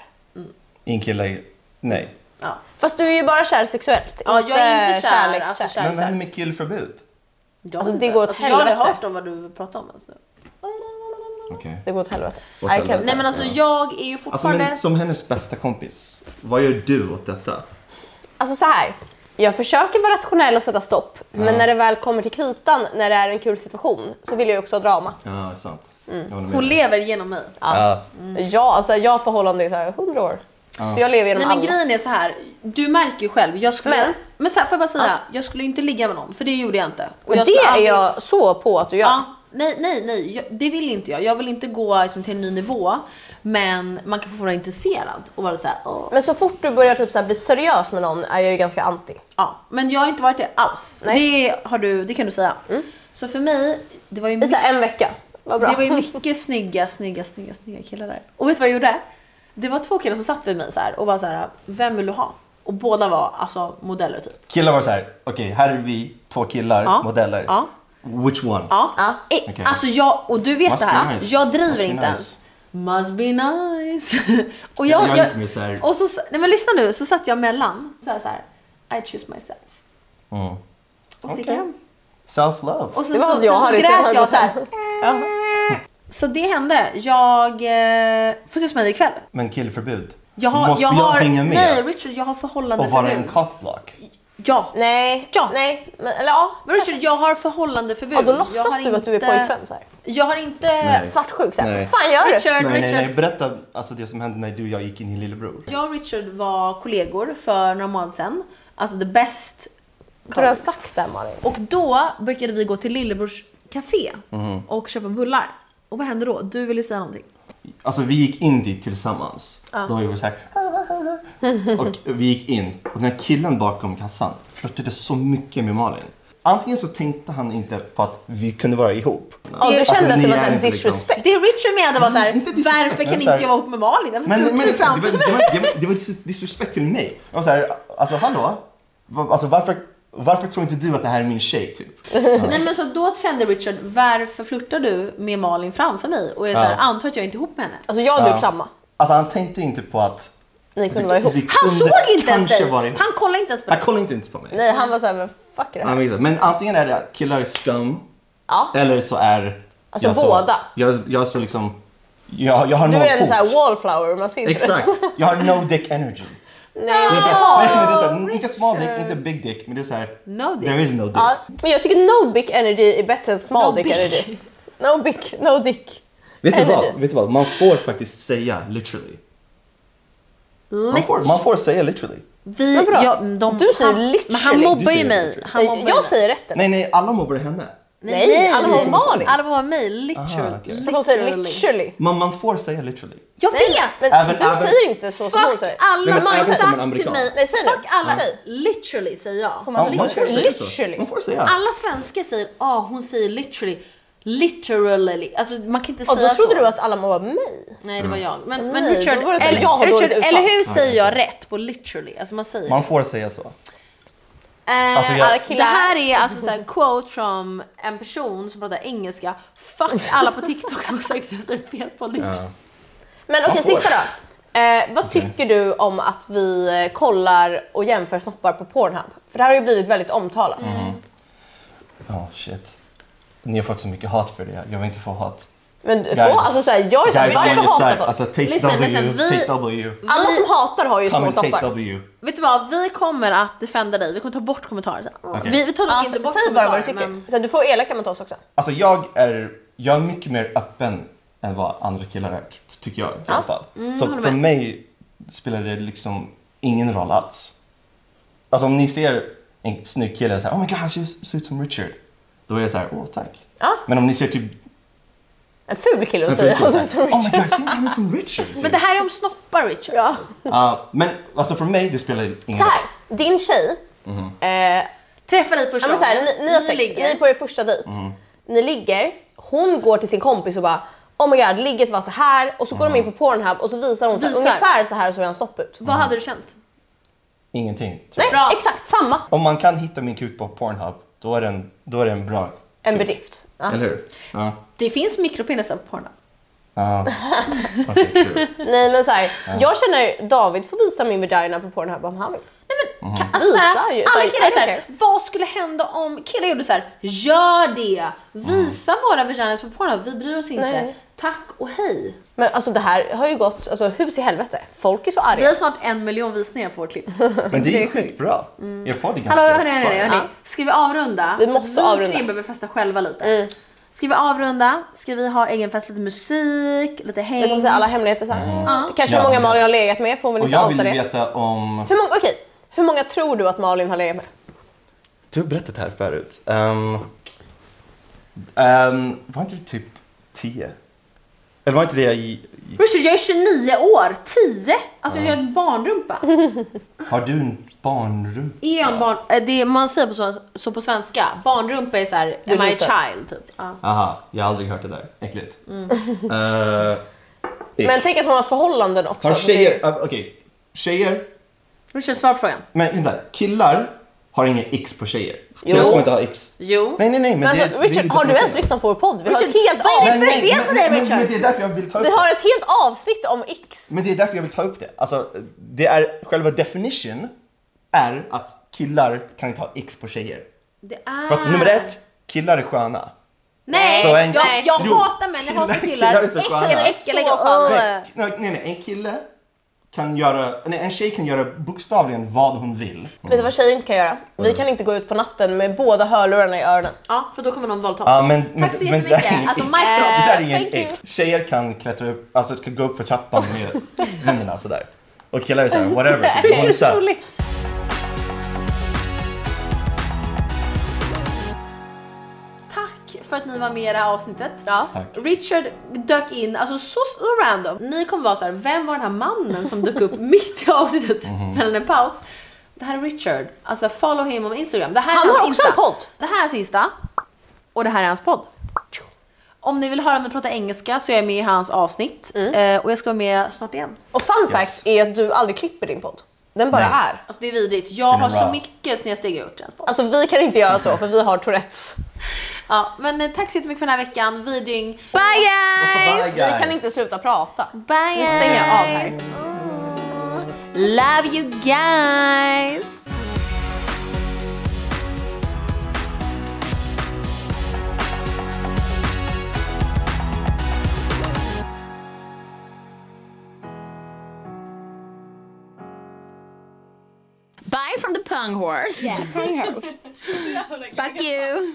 En kille, nej.
Fast du är ju bara kär sexuellt.
Ja, jag är inte kär,
kärlekskär.
alltså kär.
Men vad händer med killförbud?
Jag
Alltså,
vet
det
inte.
går åt
jag har aldrig
helvete.
hört om vad du pratar om ens nu.
Okej.
Det går åt helvete.
Åt
I can't.
helvete.
Nej men alltså jag är ju
Alltså,
fortfarande...
men, som hennes bästa kompis, vad gör du åt detta?
Alltså så här. Jag försöker vara rationell och sätta stopp, men när det väl kommer till kritan, när det är en kul situation, så vill jag ju också ha drama.
Ja, det är sant. Mm.
Hon lever genom mig.
Ja.
Ja, alltså jag får hålla om det i så här 100 år. Så jag lever
Mm. Nej
genom
men
alla.
grejen är så här. du märker ju själv. Jag skulle,
Men-
men så här, får jag bara säga, jag skulle ju inte ligga med någon för det gjorde jag inte. Och
Och
jag
det
skulle
är
aldrig-
jag så på att du gör.
Ja, nej, nej, nej, jag, det vill inte jag. Jag vill inte gå liksom, till en ny nivå, men man kan få vara intresserad och vara lite såhär, åh.
Men så fort du börjar typ så här bli seriös med någon är jag ju ganska anti.
Ja, men jag har inte varit det alls. Det, har du, det kan du säga. Så för mig, det var ju
I Mm. så här en vecka. Vad bra.
Det var ju mycket snygga, snygga, snygga, snygga killar där. Och vet du vad jag gjorde? Det var två killar som satt vid mig så här och var så här, vem vill du ha? Och båda var alltså modeller typ.
Killar var så här, okej här är vi två killar,
Ja.
modeller.
Ja.
Which one?
Ja.
Ja.
Eh,
Okej.
Alltså jag, och du vet
Must
det
be
här,
nice.
jag driver
Must be
inte
nice.
ens. Must be nice. (laughs) och jag,
Jag är
jag,
lite mer så här-
och så, nej men lyssna nu, så satt jag mellan. Så här, så här I choose myself.
Mm.
Och så gick jag
Okej.
hem.
Self love.
Och sen,
Det var
så,
jag
sen så
hade
grät
sett
jag så
här. (laughs)
här. Så det hände. Jag eh, får ses med dig ikväll.
Men killförbud.
Jag har,
Måste
jag
jag,
har,
hänga med
Nej Richard, jag har förhållande
och vara en
förbud.
cockblock?
Ja.
Nej,
Ja.
nej, men, eller ja.
Men Richard, jag har förhållande förbud.
ja då låtsas du att du är pojkvän så här.
Jag har inte...
Nej.
Svartsjuk såhär.
Nej.
Vad fan gör du?
Richard,
Nej, nej,
Richard.
nej. Berätta alltså, det som hände när du och jag gick in i lillebror.
Jag och Richard var kollegor för några månader sedan. Alltså the best
Har du har
college.
sagt det här, Malin?
Och då brukade vi gå till lillebrors café
Mhm.
och köpa bullar. Och vad hände då? Du ville säga någonting.
Alltså vi gick in dit tillsammans. Då var vi så här. (laughs) Och vi gick in och den här killen bakom kassan flörtade så mycket med Malin. Antingen så tänkte han inte på att vi kunde vara ihop.
Ja, du
Alltså,
kände att
ni
det var
är
såhär
inte liksom-
disrespect.
Det Richard menade var så här,
Mm, inte disrespect,
varför kan
men
inte
så här-
jag vara ihop med Malin? Varför
Men,
funkar
men
det
exakt,
inte?
det, var, det, var, det, var, det var dis- disrespect till mig. Jag var så här, alltså hallå? Va- Alltså, varför, varför tror inte du att det här är min tjej
(laughs)
typ?
Nej men så då kände Richard, varför flörtar du med Malin framför mig? Och jag så här,
Ja.
antar att jag inte är ihop med henne.
Alltså jag hade
Ja.
gjort samma.
Alltså han tänkte inte på att
Ni kunde vara ihop.
vi
Han
kunde
såg inte ens
kanske
dig!
vara ihop.
Han kollade inte ens på
Han
dig.
kollade inte ens på mig.
Nej han var såhär, men fuck det
Nej,
här.
men, exakt. men antingen är det att killar är skum
Ja.
eller så är
Alltså,
jag så-
båda.
jag, jag är så liksom, jag, jag har
Du
noll
är en sån här
hot.
wallflower, man ser inte det.
Exakt, jag har no dick energy.
(laughs) Nej,
Det är
men-
så här, nej, men det är så här, inte small dick, inte big dick, men det är så här,
No dick.
there is no dick.
Ja, men jag tycker no big energy är bättre än small
No
dick,
big.
energy. No big, no dick.
Vet du, vad?
Energy.
Vet du vad, man får faktiskt säga literally. Man får, man får säga literally.
Vi,
Vadå?
ja, de,
Du säger
han,
literally.
Men han
Du
mobbar
säger
ju mig.
literally.
Han mobbar ju
jag
mig.
säger rätt.
Nej, nej, alla mobbar henne.
Nej, alla var Malin.
Alla var mig, literally.
Aha, okej.
För hon säger literally.
Men man får säga literally.
Jag
Nej,
vet!
men
Även-
du
även-
säger inte så som hon
Fuck
säger.
alla
Nej, men
som har
även som en
sagt till
amerikan.
mig.
Nej, säg det.
Fuck alla.
Säg.
Literally säger jag.
man
man får säga
literally.
så. Man får säga.
Alla svenskar säger ah hon säger literally. Literally. Alltså man kan inte
Och
säga
då trodde
så.
du att alla var mig.
Nej det var
Mm.
jag. Men, men
Nej,
Richard,
då var det så här,
eller,
jag har dåligt
Richard
uttal.
eller hur säger jag rätt på literally? Alltså man säger
Man får säga så.
Eh,
Alltså, jag- alla
Det här är alltså så här, en quote från en person som pratar engelska.
(laughs)
Fuck alla på TikTok som har sagt att jag säger fel på literally.
Ja.
Men okej,
Man får.
sista då. Eh, vad tycker du om att vi eh, kollar och jämför snoppar på Pornhub? För det här har ju blivit väldigt omtalat.
Mm. Ja, shit. Ni har fått så mycket hat för det. Jag vill inte få hat.
Men få,
Guys.
alltså, såhär, jag är såhär,
Guys,
varför
Jenny
hatar
Saif,
folk?
Alltså, take
Listen,
W,
listen, vi-
take W.
alla som hatar har ju
Come
små
and take
snoppar.
W.
Vet du vad, vi kommer att defenda dig. Vi kommer ta bort kommentarer sen.
Okej.
Vi, vi tar dock
Alltså,
inte bort
säg bara vad du
kommentarer.
tycker.
Men
Så här, du får vara elaka mot oss också.
Alltså jag är, jag är mycket mer öppen än vad andra killar är, tycker jag i alla fall.
Mm,
så för mig spelar det liksom ingen roll alls. Alltså om ni ser en snygg kille och säger oh my god, han ser, ser ut som Richard. Då är jag så här, åh tack.
Ja.
Men om ni ser typ...
En ful kille att säga. Alltså, som
oh my
Richard.
god, ser inte han ut som Richard?
men det här är om snoppar Richard. Ja.
Ja, men alltså för mig det spelar ingen
(laughs) Så
roll.
här, din tjej. Eh,
Träffa dig första
Ja, men så här, ni, ni har sex, ni är på er första dejt.
Mm.
Ni ligger, hon går till sin kompis och bara Oh my god, ligget var så här och så går de in på Pornhub och så visar hon så här,
Visar.
ungefär så här såg hans stopp ut.
Vad hade du känt?
Ingenting. tror
Nej,
jag.
Bra.
exakt samma.
Om man kan hitta min kuk på Pornhub, då är det en, då är det en bra...
En bedrift. Ja.
Eller hur? Ja.
Det finns mikropinnisar på Pornhub.
Ja. (laughs) Okej, true.
Nej men så här, jag känner David får visa min vagina på Pornhub om han vill.
Kan- Alltså,
Visa
såhär,
ju,
alla
såhär,
killar
I
är
don't
såhär,
care.
vad skulle hända om killar gjorde såhär, gör det! Visa våra vaginas på Pornhub, vi bryr oss inte.
Nej.
Tack och hej!
Men alltså det här har ju gått alltså, hus i helvete. Folk är så
Vi
arga.
har snart en miljon visningar på vårt
(laughs)
klipp.
Men det är ju skitbra. Jag får det ganska
Hallå hörni, hörni,
bra.
hörni. Ska vi avrunda?
Vi måste avrunda.
Vi tre behöver festa själva lite. Ska vi avrunda? Ska vi ha egen fest, lite musik, lite
Jag kommer
häng?
säga alla hemligheter sen. Kanske hur
Mm.
många
Ja.
Malin har legat med får hon väl
Och
inte
jag
outa
vill
det.
veta om...
Hur många, okej, hur många tror du att Malin har legat med?
Du har berättat det här förut. Ehm, ehm, var inte det typ 10? Eller var inte det jag... i- i-
Richard, jag är 29 år, 10! Alltså jag är en barnrumpa.
Har du en barnrum?
Är jag en barn... eh, Det är- man säger på så, så på svenska, barnrumpa är såhär, am I a
låter.
child? Typ. Ja.
Aha, jag har aldrig hört det där. Äckligt. Eh, ick.
Men tänk att hon har förhållanden också.
har
så det är-
tjejer... Uh, Okej. Tjejer...
Richard, svar på frågan.
Men vänta. Killar har inga x på tjejer. Killar
Jo.
får inte ha x.
Jo.
Nej, nej, nej. Men,
Men
det,
alltså,
det är
Richard,
ju
har du ens
definitionen.
lyssnat på vår podd? Vi har ett
Richard,
helt
vad är det
avsnitt.
för
Men-
fel på
men-
dig,
men-
Richard?
Men det är därför jag vill ta upp
Vi
det.
har ett helt avsnitt om X.
Men det är därför jag vill ta upp det. Alltså, det är, själva definition är att killar kan inte ha x på tjejer.
Det är...
För att nummer ett, killar är sköna.
Nej!
Så en-
jag jag
Jo,
hatar män, jag hatar killar.
killar är så sköna.
Äckliga, äckliga
Så-
och sköna.
Nej, nej, nej, en kille kan göra, nej, en tjej kan göra bokstavligen vad hon vill.
Vet du vad tjejer inte kan göra? Vi kan inte gå ut på natten med båda hörlurarna i öronen.
Ja, för då kommer någon våldta oss.
Ja, men, men,
Tack så
men det där är
jättemycket.
ingen
Alltså,
ick.
mic drop.
Det där är ingen
thank you.
ick. Tjejer kan klättra upp, alltså kan gå upp för trappan med händerna sådär. Och killar är såhär, whatever, typ, hon är söt.
Tack för att ni var med i det här avsnittet.
Ja.
Tack.
Richard dök in, alltså så, så random. Ni kommer vara så här, vem var den här mannen som dök upp (laughs) mitt i avsnittet mellan en paus? Det här är Richard, alltså follow him on Instagram. Det här
Han
är hans
har också
Insta.
en podd.
Det här är hans Insta och det här är hans podd. Om ni vill höra mig prata engelska så är jag med i hans avsnitt
Mm.
eh, och jag ska vara med snart igen.
Och fun fact
Yes.
är att du aldrig klipper din podd. Den bara
Nej.
är.
Alltså det är vidrigt, jag
Den är
har så
bra.
mycket snedsteg jag gjort i hans podd.
Alltså vi kan inte göra så för vi har Tourettes.
Ja, men eh, tack så jättemycket för den här veckan, vi dyng. Bye guys!
Bye,
Vi kan
guys.
inte sluta prata.
Bye
Nu stänger jag av här.
guys! Love you guys! Bye from the pung horse. Yeah, pung horse. Fuck you.